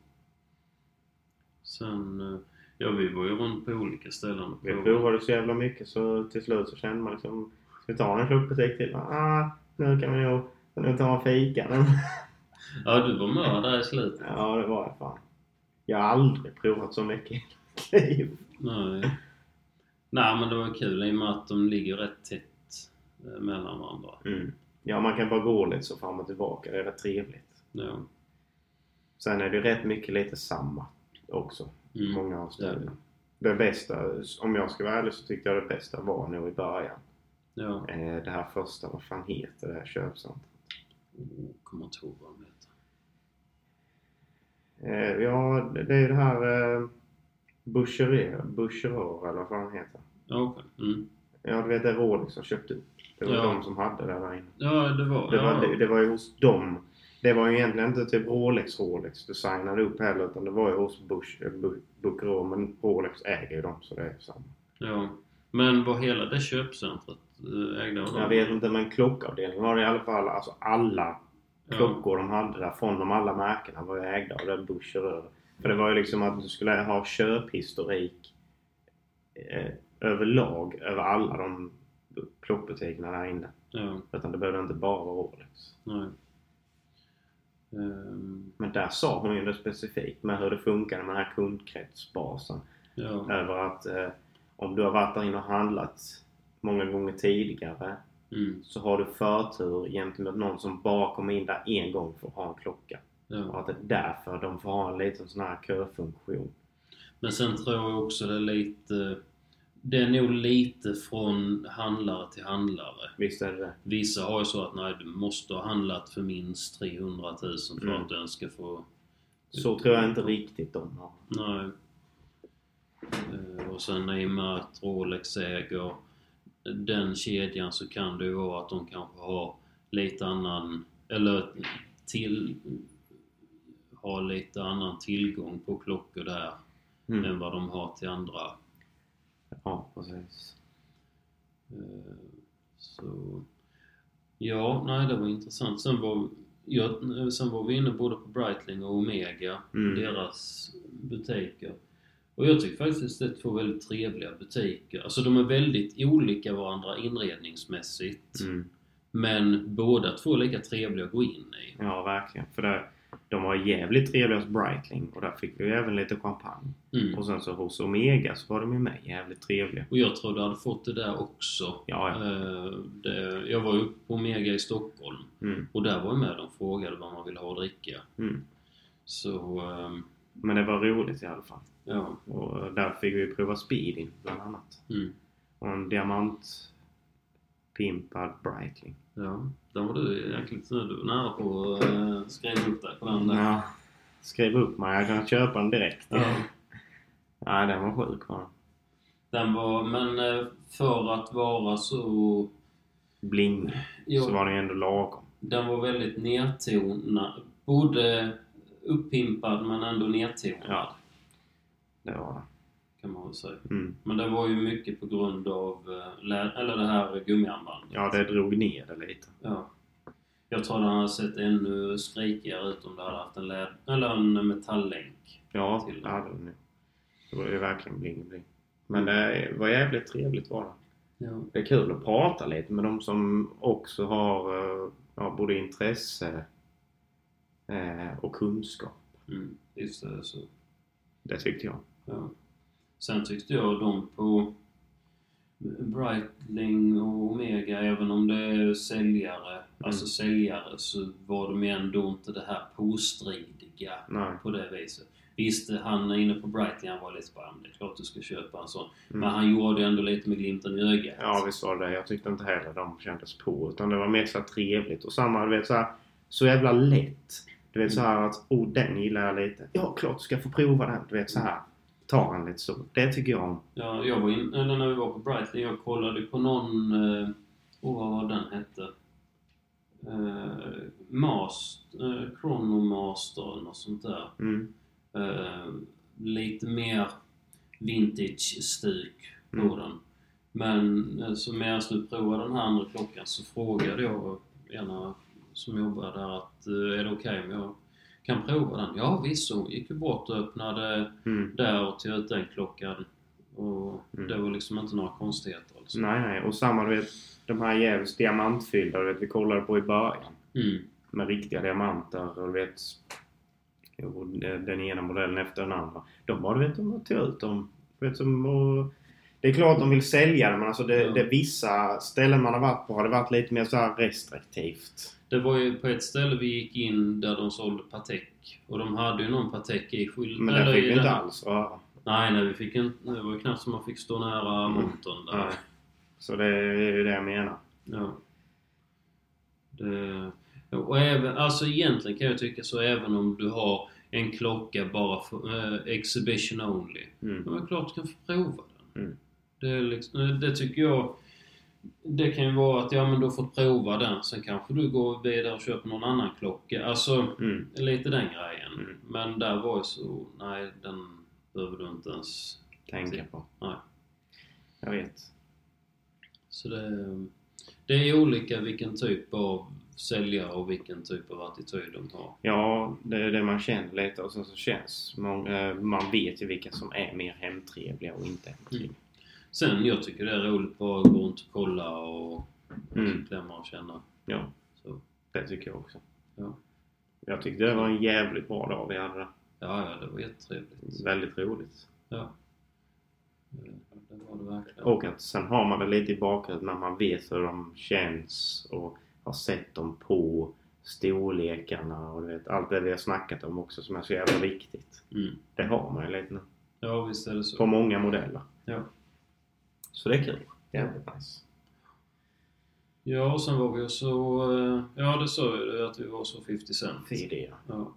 Speaker 2: Sen... eh, Ja, vi var ju runt på olika ställen och
Speaker 1: Vi
Speaker 2: provade.
Speaker 1: provade så jävla mycket så till slut så kände man liksom Ska vi ta en klubbbutik till? Ah, nu kan vi nog nu ta en fika.
Speaker 2: Ja, du var med där i slutet.
Speaker 1: ja, det var jag fan. Jag har aldrig provat så mycket i mitt liv.
Speaker 2: Nej. Nej, men det var kul i och med att de ligger rätt tätt eh, mellan varandra.
Speaker 1: Mm. Ja, man kan bara gå lite så fram och tillbaka. Det är rätt trevligt.
Speaker 2: Ja.
Speaker 1: Sen är det rätt mycket lite samma också.
Speaker 2: Mm.
Speaker 1: Många av städerna. Det bästa, om jag ska vara ärlig så tyckte jag det bästa var nog i början.
Speaker 2: Ja.
Speaker 1: Eh, Det här första, vad fan heter det här köpcentret?
Speaker 2: Oh, kommer inte ihåg vad de heter.
Speaker 1: Eh, Ja, det det är det här eh, Boucherer, Boucherer eller vad fan heter. det.
Speaker 2: Ja, okej. Mm.
Speaker 1: Ja, du vet det är Rolex som köpte upp. Det var
Speaker 2: Ja.
Speaker 1: de som hade det där inne.
Speaker 2: Ja, det var...
Speaker 1: Det var,
Speaker 2: ja.
Speaker 1: det, det var ju hos dem. Det var ju egentligen inte typ Rolex Rolex du signade upp heller utan det var ju hos Bush, eh, Bu- Bucherer men Rolex äger ju dem så det är ju samma.
Speaker 2: Ja, men var hela det köpcentret eh, ägda av dem?
Speaker 1: Jag vet inte men klockavdelningen var det i alla fall alltså alla
Speaker 2: Ja,
Speaker 1: klockor de hade där från de alla märkena var ju ägda av den Boucherer. För det var ju liksom att du skulle ha köphistorik eh, överlag över alla de klockbutikerna där inne.
Speaker 2: ja,
Speaker 1: Utan det behövde inte bara vara Rolex.
Speaker 2: nej. Ehm,
Speaker 1: Men där sa hon ju det specifikt med hur det funkar med den här kundkretsbasen.
Speaker 2: ja,
Speaker 1: Över att eh, om du har varit där inne och handlat många gånger tidigare
Speaker 2: mm,
Speaker 1: så har du förtur gentemot någon som bara kommer in där en gång för att ha en klocka. Och
Speaker 2: ja.
Speaker 1: att det är därför de får ha en liten sån här köfunktion.
Speaker 2: Men sen tror jag också det är lite... Det är nog lite från handlare till handlare.
Speaker 1: Visst är det det?
Speaker 2: Vissa har ju så att nej, du måste ha handlat för minst 300 000 för
Speaker 1: Mm.
Speaker 2: att du ens ska få...
Speaker 1: Så tror jag inte riktigt de har.
Speaker 2: Nej. Eh, Och sen i och med att Rolex äger den kedjan så kan det ju vara att de kanske har lite annan, eller till, har lite annan tillgång på klockor där än
Speaker 1: Mm.
Speaker 2: vad de har till andra.
Speaker 1: Ja, precis.
Speaker 2: Eh, Så, ja, nej det var intressant. Sen var, ja, sen var vi inne både på Breitling och Omega,
Speaker 1: Mm.
Speaker 2: deras butiker. Och jag tycker faktiskt att det är två väldigt trevliga butiker. Alltså de är väldigt olika varandra inredningsmässigt.
Speaker 1: Mm.
Speaker 2: Men båda två är lika trevliga att gå in i.
Speaker 1: Ja, verkligen. För det, de var jävligt trevliga hos Breitling och där fick vi ju även lite champagne.
Speaker 2: Mm.
Speaker 1: Och sen så hos Omega så var de ju med jävligt trevliga.
Speaker 2: Och jag tror du hade fått det där också.
Speaker 1: Ja, ja.
Speaker 2: Eh, det, jag var ju uppe på Omega i Stockholm
Speaker 1: Mm,
Speaker 2: och där var jag med. De frågade vad man ville ha att dricka.
Speaker 1: mm.
Speaker 2: Så, ehm,
Speaker 1: Men det var roligt i alla fall.
Speaker 2: ja.
Speaker 1: Och där fick vi prova speeding bland annat.
Speaker 2: Mm.
Speaker 1: Och en diamant pimpad Breitling.
Speaker 2: Ja, där var du jäkligt snäll. Du var nära på att eh, skriva upp dig på den där.
Speaker 1: Ja, skriv upp mig, jag kan köpa den direkt.
Speaker 2: Ja.
Speaker 1: Nej, den var sjuk var den.
Speaker 2: Den var, men eh, för att vara så...
Speaker 1: Bling. Så
Speaker 2: Ja,
Speaker 1: var den ju ändå lagom.
Speaker 2: den var väldigt nedtonad. Både uppimpad men ändå nedtonad
Speaker 1: Ja. Det var den.
Speaker 2: kan man väl säga.
Speaker 1: Mm.
Speaker 2: Men det var ju mycket på grund av eh, lä- eller det här gummiarmbandet.
Speaker 1: Ja, det drog ner det lite.
Speaker 2: Ja. Jag tror den hade sett ännu skrikigare ut om det hade haft en, lä- eller en metalllänk.
Speaker 1: Ja,
Speaker 2: Till.
Speaker 1: det hade den ju. Det var ju verkligen bling bling. Men det var jävligt trevligt var det.
Speaker 2: Ja.
Speaker 1: Det är kul att prata lite med de som också har eh, ja, både intresse eh, och kunskap.
Speaker 2: Mm, just det. Så.
Speaker 1: Det tyckte jag.
Speaker 2: Ja. Sen tyckte jag de på Breitling och Omega, även om det är säljare,
Speaker 1: Mm.
Speaker 2: alltså säljare, så var de ju ändå inte det här postridiga
Speaker 1: Nej.
Speaker 2: på det viset. Visst, han är inne på Breitling, han var lite bara, "Men det är klart du ska köpa en sån.
Speaker 1: Mm.
Speaker 2: Men han gjorde ju ändå lite med glimten i ögat.
Speaker 1: Ja, visst var det Jag tyckte inte heller de kändes på. Utan det var mer så här trevligt. Och samma, du vet så här, så jävla lätt. Du vet så här att, oh den gillar jag lite. Ja, klart du ska få prova den. Du vet så här. Tar han lite så. Det tycker jag om.
Speaker 2: Ja, jag var in, eller när vi var på Brighton, jag kollade på någon... eh, Åh, vad var den hette? Eh, Mast, eh, Chronomaster eller något sånt där.
Speaker 1: Mm.
Speaker 2: Eh, lite mer vintage-stuk på
Speaker 1: Mm.
Speaker 2: den. Men eh, så medan du provade den här andra klockan så frågade jag ena som jobbar där att eh, är det okej om jag kan prova den? Ja visst, så hon gick ju bort och öppnade
Speaker 1: Mm.
Speaker 2: där och tog ut den klockan. Och
Speaker 1: Mm.
Speaker 2: det var liksom inte några konstigheter. Alltså.
Speaker 1: Nej, nej. Och samma, du vet. De här Gävs diamantfyllda, du vet, vi kollade på i början.
Speaker 2: Mm.
Speaker 1: med riktiga diamanter och du vet jo, den ena modellen efter den andra. De bara, du vet, de tog ut dem. Du vet, som, och, det är klart de vill sälja det men alltså det,
Speaker 2: Ja.
Speaker 1: det vissa ställen man har varit på har det varit lite mer så här restriktivt.
Speaker 2: Det var ju på ett ställe vi gick in där de sålde Patek. Och de hade ju någon Patek i skylten.
Speaker 1: Men det fick vi inte alls röra.
Speaker 2: Nej, nej, vi fick inte. Det var ju knappt som man fick stå nära
Speaker 1: Mm.
Speaker 2: montern där.
Speaker 1: Nej. Så det är ju det jag menar.
Speaker 2: Ja. Det, och även, alltså egentligen kan jag tycka så även om du har en klocka bara för, eh, exhibition only. Ja,
Speaker 1: Mm.
Speaker 2: men klart du kan få prova den.
Speaker 1: Mm.
Speaker 2: Det, är liksom, det tycker jag... Det kan ju vara att ja, men du har fått prova den. Sen kanske du går vidare och köper någon annan klocka. Alltså,
Speaker 1: Mm.
Speaker 2: lite den grejen.
Speaker 1: Mm.
Speaker 2: Men där var ju så... Nej, den behöver du inte ens...
Speaker 1: Tänka på.
Speaker 2: Nej.
Speaker 1: Jag vet.
Speaker 2: Så det, det är olika vilken typ av säljare och vilken typ av attityd de har.
Speaker 1: Ja, det är det man känner lite och sen så känns man, eh, man vet ju vilka som är mer hemtrevliga och inte hemtrevliga.
Speaker 2: Sen, jag tycker det är roligt bara att gå runt och kolla och
Speaker 1: Mm.
Speaker 2: klämma och känna.
Speaker 1: Ja.
Speaker 2: Så,
Speaker 1: Det tycker jag också.
Speaker 2: Ja.
Speaker 1: Jag tyckte det var en jävligt bra dag vi hade.
Speaker 2: ja, ja, det var jättetrevligt.
Speaker 1: Väldigt roligt.
Speaker 2: Ja. Eh, Det var det verkligen.
Speaker 1: Och att sen har man det lite i bakhuvudet när man vet hur de känns och har sett dem på storlekarna och du vet, allt det vi har snackat om också som är så jävla viktigt.
Speaker 2: Mm.
Speaker 1: Det har man ju lite nu.
Speaker 2: Ja, visst är det så.
Speaker 1: På många modeller.
Speaker 2: Ja.
Speaker 1: Så det är kul. Jävligt nice.
Speaker 2: ja, och sen var vi ju så... eh, Ja, det sa jag ju, att vi var så 50 cent.
Speaker 1: Fy det.
Speaker 2: Ja.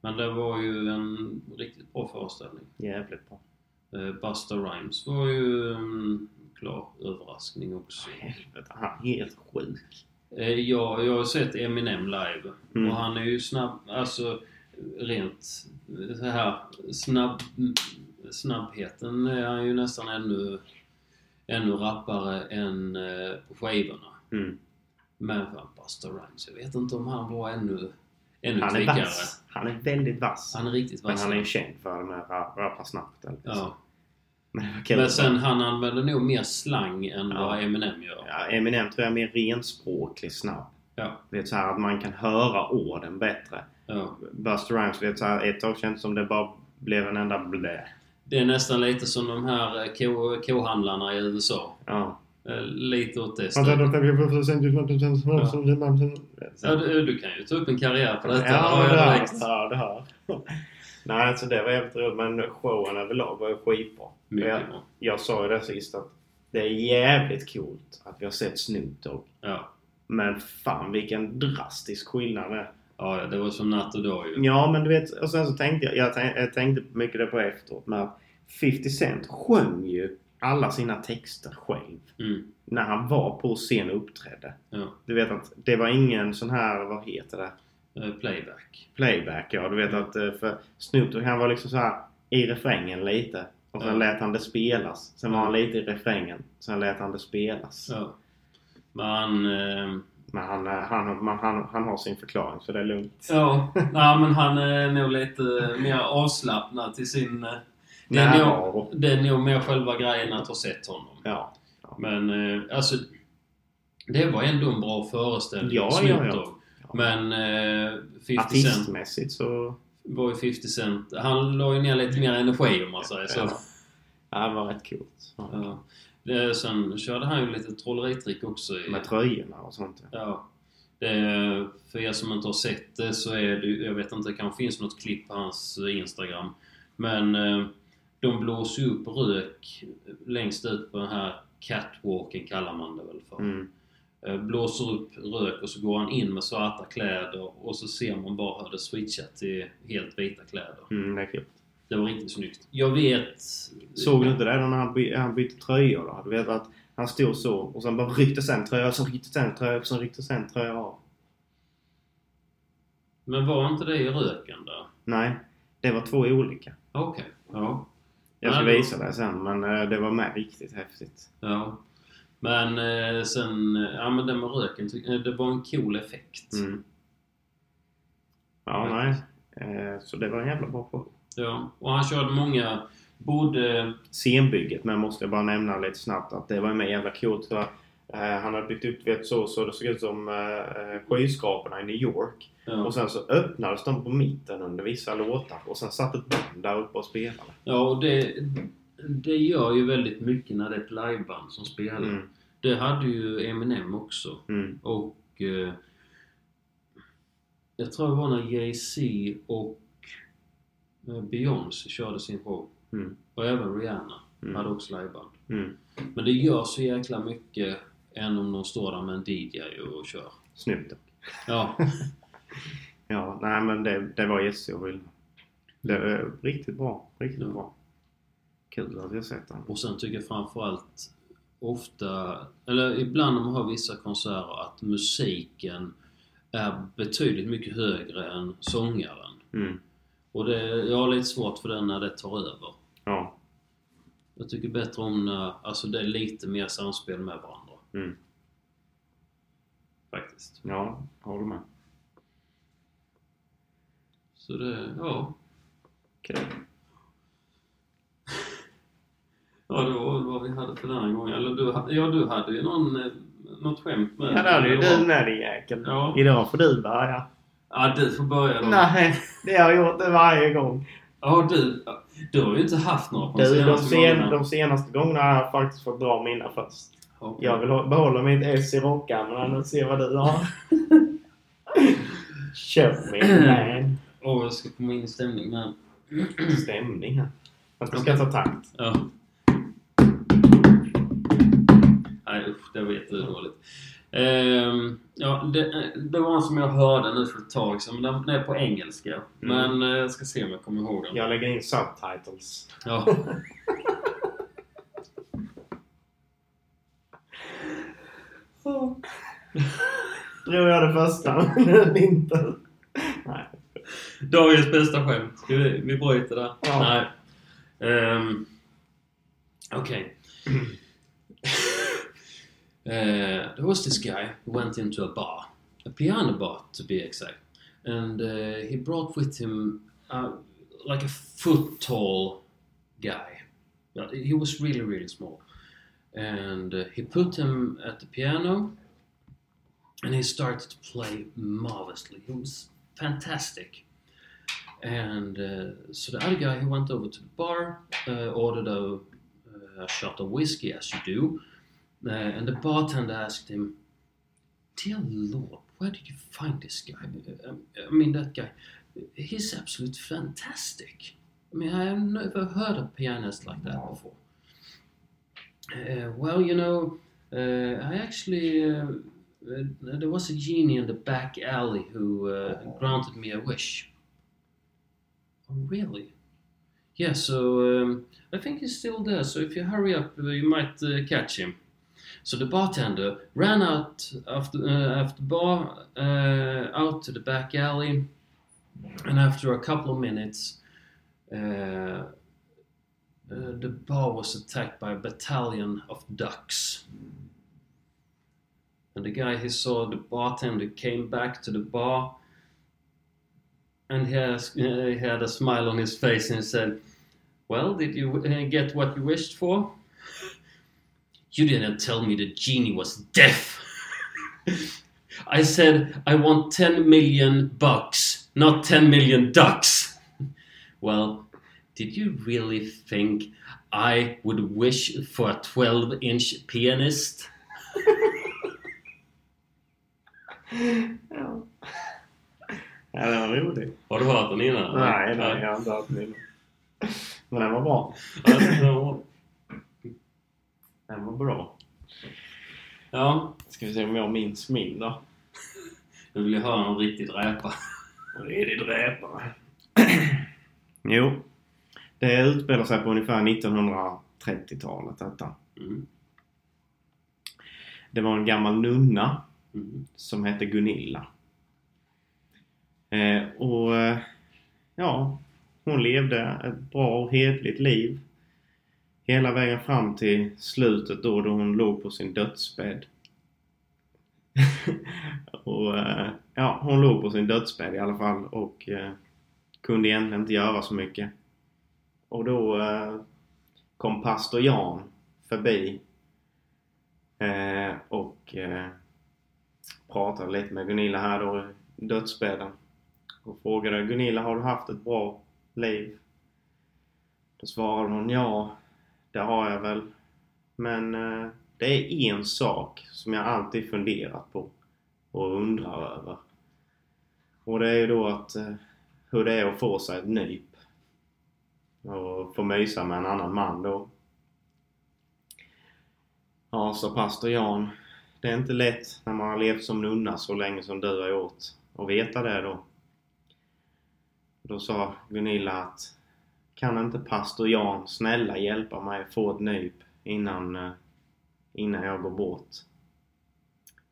Speaker 2: Men det var ju en riktigt bra föreställning.
Speaker 1: Jävligt bra.
Speaker 2: Eh, Busta Rhymes var ju en klar överraskning också.
Speaker 1: Helvete, han är helt sjuk.
Speaker 2: Eh, Ja, jag har sett Eminem live
Speaker 1: Mm.
Speaker 2: och han är ju snabb, alltså rent eh, så här snabb, snabbheten är han ju nästan ännu, ännu rappare än eh, på skivorna.
Speaker 1: Mm.
Speaker 2: Men fan Busta Rhymes, jag vet inte om han var ännu, ännu
Speaker 1: Han är
Speaker 2: kvickare.
Speaker 1: vass. Han är väldigt vass.
Speaker 2: Han är riktigt
Speaker 1: Men
Speaker 2: vass.
Speaker 1: han är ju känd för den här ra- rappa snabbt. Eller?
Speaker 2: ja.
Speaker 1: Men det var kul.
Speaker 2: Men sen han använder nog mer slang än
Speaker 1: Ja.
Speaker 2: vad Eminem gör.
Speaker 1: Ja, Eminem tror jag är mer renspråklig snabb.
Speaker 2: Ja.
Speaker 1: Vet så här att man kan höra orden bättre.
Speaker 2: ja.
Speaker 1: Buster Rhymes, vet så här, ett tag känns det som det bara blev en enda blä.
Speaker 2: Det är nästan lite som de här eh, ko- kohandlarna i USA.
Speaker 1: Ja.
Speaker 2: Eh, Lite åt det
Speaker 1: Ja,
Speaker 2: stället. Ja,
Speaker 1: det
Speaker 2: du, du kan ju ta upp en karriär på detta.
Speaker 1: har
Speaker 2: direkt.
Speaker 1: Ja, det har jag. Nej, alltså det var jävligt roligt men showen överlag var ju skitbra. Jag,
Speaker 2: Mycket bra.
Speaker 1: jag sa ju det sist att det är jävligt coolt att vi har sett Snoop Dogg.
Speaker 2: Ja.
Speaker 1: Men fan vilken drastisk skillnad det är.
Speaker 2: ja, ja, det var som natt och dag ju.
Speaker 1: Ja, men du vet, och sen så tänkte jag, jag, tänk, jag tänkte mycket det på efteråt, men att 50 Cent sjöng ju alla sina texter själv.
Speaker 2: Mm.
Speaker 1: När han var på scen och uppträdde.
Speaker 2: Ja.
Speaker 1: Du vet att det var ingen sån här, vad heter det?
Speaker 2: Eh, Playback.
Speaker 1: Playback ja. Du vet att eh, för Snoop Dogg, han var liksom så här i refrängen lite. Och sen
Speaker 2: Ja.
Speaker 1: lät han det spelas. Sen var
Speaker 2: Ja.
Speaker 1: han lite i refrängen. Sen lät han det spelas.
Speaker 2: Ja. Men... ehm,
Speaker 1: Men han, eh, han, man, han, han har sin förklaring så det är lugnt.
Speaker 2: Ja, nej, men han är nog lite eh, mer avslappnad till sin... eh, Det är, nog,
Speaker 1: Närvaro.
Speaker 2: det är nog mer själva grejen att ha sett honom.
Speaker 1: Ja.
Speaker 2: Men eh, alltså... Det var ändå en bra föreställning.
Speaker 1: Ja,
Speaker 2: Snoop
Speaker 1: ja, ja.
Speaker 2: Dogg. Men eh, 50 Cent
Speaker 1: Artistmässigt så...
Speaker 2: var ju 50 Cent. Han la ju ner lite mer energi om man säger så.
Speaker 1: Ja. Ja, det var rätt coolt. Ja.
Speaker 2: Ja. Det, sen körde han ju lite trolleritrick också. I,
Speaker 1: Med tröjorna och sånt. ja.
Speaker 2: ja. det, för er som inte har sett det så är det ju- jag vet inte, det kanske finns något klipp på hans Instagram. Men eh, de blåser ju upp rök längst ut på den här catwalken kallar man det väl för.
Speaker 1: Mm.
Speaker 2: Eh, Blåser upp rök och så går han in med svarta kläder och så ser man bara hur det switchar till helt vita kläder.
Speaker 1: Mm, det är kul.
Speaker 2: Det var riktigt snyggt. Jag vet...
Speaker 1: Såg du inte det då när han, by- han bytte tröjor då? Du vet att han stod så och sen bara rycktes en tröja, så rycktes en tröja, så rycktes en tröja av.
Speaker 2: Men var inte det i röken där?
Speaker 1: Nej, det var två olika.
Speaker 2: Okej. Ja.
Speaker 1: Jag ska
Speaker 2: Nej, det-
Speaker 1: visa dig sen men eh, det var med riktigt häftigt.
Speaker 2: ja. Men eh, sen, eh, ja men den med röken, tyck- eh, det var en cool effekt.
Speaker 1: Mm. Ja, nej. Eh, Så det var en jävla bra show.
Speaker 2: Ja. Och han körde många, både...
Speaker 1: Scenbygget, men måste jag bara nämna lite snabbt att det var med jävla coolt. Så, eh, han hade byggt upp vet, så, så det såg ut som eh, eh, skyskraporna i New York.
Speaker 2: Ja.
Speaker 1: Och sen så öppnades de på mitten under vissa låtar och sen satt ett band där uppe och spelade.
Speaker 2: ja, och det, det gör ju väldigt mycket när det är ett liveband som spelar.
Speaker 1: Mm.
Speaker 2: Det hade ju Eminem också.
Speaker 1: Mm.
Speaker 2: Och... Eh, jag tror det var när Jay-Z och eh, Beyoncé körde sin show.
Speaker 1: Mm.
Speaker 2: Och även Rihanna
Speaker 1: Mm.
Speaker 2: hade också liveband.
Speaker 1: Mm.
Speaker 2: Men det gör så jäkla mycket än om de står där med en DJ och kör.
Speaker 1: Snyggt. då.
Speaker 2: Ja,
Speaker 1: Ja, nej men det, det var jättestor skillnad. Det var riktigt bra. Riktigt
Speaker 2: Ja.
Speaker 1: bra. Kul att vi har sett den.
Speaker 2: och sen tycker jag framförallt ofta, eller ibland när man har vissa konserter, att musiken är betydligt mycket högre än sångaren.
Speaker 1: Mm.
Speaker 2: Och det, jag har lite svårt för den när det tar över.
Speaker 1: Ja.
Speaker 2: Jag tycker bättre om när, alltså det är lite mer samspel med varandra.
Speaker 1: Mm.
Speaker 2: Faktiskt.
Speaker 1: Ja, håller med.
Speaker 2: Så det, ja.
Speaker 1: Kul.
Speaker 2: Ja, det var väl vad vi hade för den här gången. Eller du, ha- ja, du hade ju någon, eh, något skämt med.
Speaker 1: Ja, där är ju
Speaker 2: Eller vad?
Speaker 1: du med din jäkel.
Speaker 2: Ja.
Speaker 1: Idag får du börja.
Speaker 2: Ja, du får börja då.
Speaker 1: Nej, det har jag gjort det varje gång.
Speaker 2: Ja, du, du har ju inte haft några på de
Speaker 1: Du, de,
Speaker 2: senaste
Speaker 1: sen,
Speaker 2: gångerna.
Speaker 1: de senaste gångerna har jag faktiskt fått dra mina först.
Speaker 2: Okej.
Speaker 1: Jag vill ha- behålla mitt S i rockärmarna och se vad du har. Kör min man.
Speaker 2: Åh, jag ska komma in i stämning här.
Speaker 1: Stämning här. Att du ska ta takt.
Speaker 2: Ja. Nej usch, det var jättedåligt. Ehm, ja, det, det var en som jag hörde nu för ett tag sedan, men den den är på
Speaker 1: Mm.
Speaker 2: engelska. Men eh, jag ska se om jag kommer ihåg den.
Speaker 1: Jag lägger in subtitles.
Speaker 2: Ja.
Speaker 1: Drog jag det första? men inte. Nej.
Speaker 2: Dagens bästa skämt. Ska vi, vi bryter där?
Speaker 1: Ja.
Speaker 2: Nej. Ehm, Okej. Eh, there was this guy who went into a bar. A piano bar to be exact. And eh, he brought with him uh, like a foot tall guy. But He was really, really small. And eh, he put him at the piano and he started to play marvelously. He was fantastic. And uh, so the other guy, he went over to the bar, uh, ordered a, uh, a shot of whiskey, as you do. Uh, and the bartender asked him, Dear Lord, where did you find this guy? Uh, I mean, that guy, he's absolutely fantastic. I mean, I have never heard a pianist like that before. Uh, well, you know, uh, I actually, uh, uh, there was a genie in the back alley who uh, granted me a wish. Oh, really? Yeah, so um, I think he's still there, so if you hurry up, uh, you might uh, catch him. So the bartender ran out after, uh, after bar, uh, out to the back alley, and after a couple of minutes, uh, uh, the bar was attacked by a battalion of ducks. And the guy he saw the bartender came back to the bar, and he, has, uh, he had a smile on his face and he said, "Well, did you uh, get what you wished for?" You didn't tell me the genie was deaf. I said, I want 10 million bucks, not 10 million ducks. well, did you really think I would wish for a 12 inch pianist?
Speaker 1: Ja. Ja, den var rolig.
Speaker 2: Har du hört den innan?
Speaker 1: Nej, nej, jag har inte hört den innan. Men den var bra.
Speaker 2: Ja, den var-
Speaker 1: Den var bra.
Speaker 2: Ja,
Speaker 1: Ska vi se om jag minns min då.
Speaker 2: nu vill jag höra någon riktigt räpa.
Speaker 1: Redig dräpare. jo. Det utspelar sig på ungefär 1930-talet detta.
Speaker 2: Mm.
Speaker 1: Det var en gammal nunna
Speaker 2: Mm.
Speaker 1: som hette Gunilla. Eh, och eh, ja, hon levde ett bra och hedligt liv. Hela vägen fram till slutet då, då hon låg på sin dödsbädd. och eh, ja, hon låg på sin dödsbädd i alla fall och eh, kunde egentligen inte göra så mycket. Och då eh, kom pastor Jan förbi eh, och eh, pratade lite med Gunilla här då i dödsbädden och frågade Gunilla har du haft ett bra liv? Då svarade hon ja, det har jag väl. Men eh, det är en sak som jag alltid funderat på och undrar över. Och det är ju då att eh, hur det är att få sig ett nyp och få mysa med en annan man då. Ja, sa pastor Jan. Det är inte lätt när man har levt som nunna så länge som du har gjort och veta det då. Då sa Gunilla att kan inte pastor Jan snälla hjälpa mig att få ett nyp innan, eh, innan jag går bort?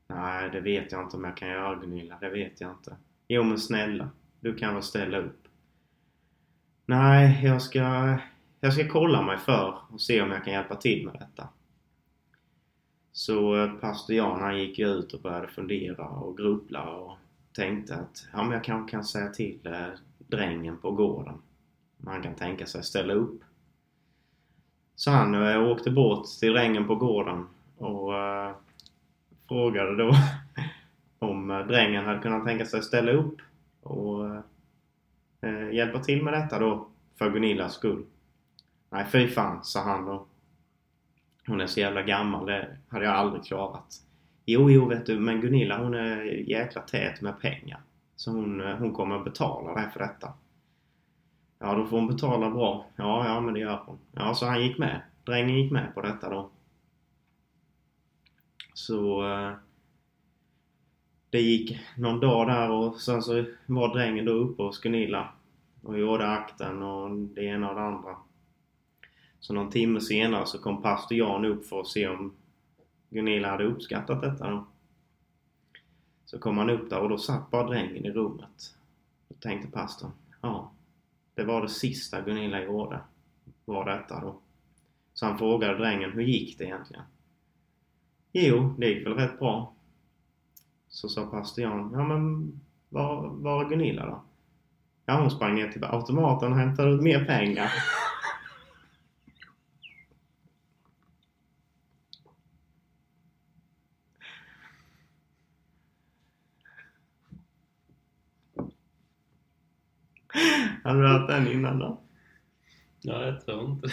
Speaker 1: Nej, det vet jag inte om jag kan göra Gunilla, det vet jag inte. Jo men snälla, du kan väl ställa upp? Nej, jag ska, jag ska kolla mig för och se om jag kan hjälpa till med detta. Så eh, pastor Jan han gick ju ut och började fundera och grubbla och tänkte att ja, men jag kanske kan säga till eh, drängen på gården om han kan tänka sig att ställa upp. Så han eh, åkte bort till drängen på gården och eh, frågade då om eh, drängen hade kunnat tänka sig att ställa upp och eh, hjälpa till med detta då för Gunillas skull. Nej, fy fan, sa han då. Hon är så jävla gammal, det hade jag aldrig klarat. Jo, jo, vet du, men Gunilla hon är jäkla tät med pengar. Så hon, eh, hon kommer att betala dig för detta. Ja, då får hon betala bra. Ja, ja, men det gör hon. Ja, så han gick med. Drängen gick med på detta då. Så... eh, Det gick någon dag där och sen så var drängen då uppe hos Gunilla och gjorde akten och det ena och det andra. Så någon timme senare så kom pastor Jan upp för att se om Gunilla hade uppskattat detta då. Så kom han upp där och då satt bara drängen i rummet. Då tänkte pastorn, ja, det var det sista Gunilla gjorde, var detta då. Så han frågade drängen, hur gick det egentligen? Jo, det gick väl rätt bra. Så sa pastor Jan, ja men var, var är Gunilla då? Ja, hon sprang ner till automaten och hämtade ut mer pengar. Hade du haft den innan då?
Speaker 2: Ja, jag tror inte.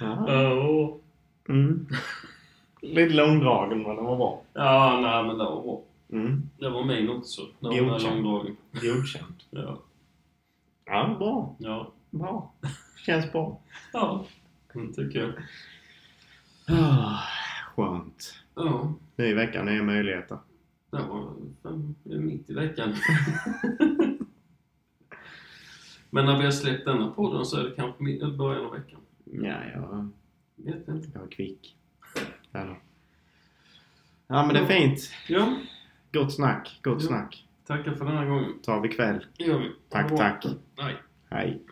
Speaker 1: Ja.
Speaker 2: Ja,
Speaker 1: Mm. Lite långdragen men den var bra.
Speaker 2: ja nej men det var bra.
Speaker 1: Mm.
Speaker 2: Det var min också. Det var den här
Speaker 1: Godkänt.
Speaker 2: långdragen.
Speaker 1: Godkänt.
Speaker 2: Ja.
Speaker 1: Ja, bra.
Speaker 2: Ja.
Speaker 1: Bra. Känns bra.
Speaker 2: Ja. Det tycker jag.
Speaker 1: Ah, Skönt.
Speaker 2: Ja.
Speaker 1: Ny vecka, nya möjligheter.
Speaker 2: Det var fan, det är mitt i veckan. men när vi har släppt denna podden så är det kanske mitt- början av veckan.
Speaker 1: Ja, jag,
Speaker 2: Vet inte.
Speaker 1: jag är kvick. Ja, då. ja, men det är fint.
Speaker 2: Ja.
Speaker 1: Gott snack. Gott
Speaker 2: Ja.
Speaker 1: snack.
Speaker 2: Tackar för den här gången.
Speaker 1: Tar vi kväll.
Speaker 2: Det gör vi. Ha
Speaker 1: Tack,
Speaker 2: det bra.
Speaker 1: tack.
Speaker 2: Nej.
Speaker 1: Hej.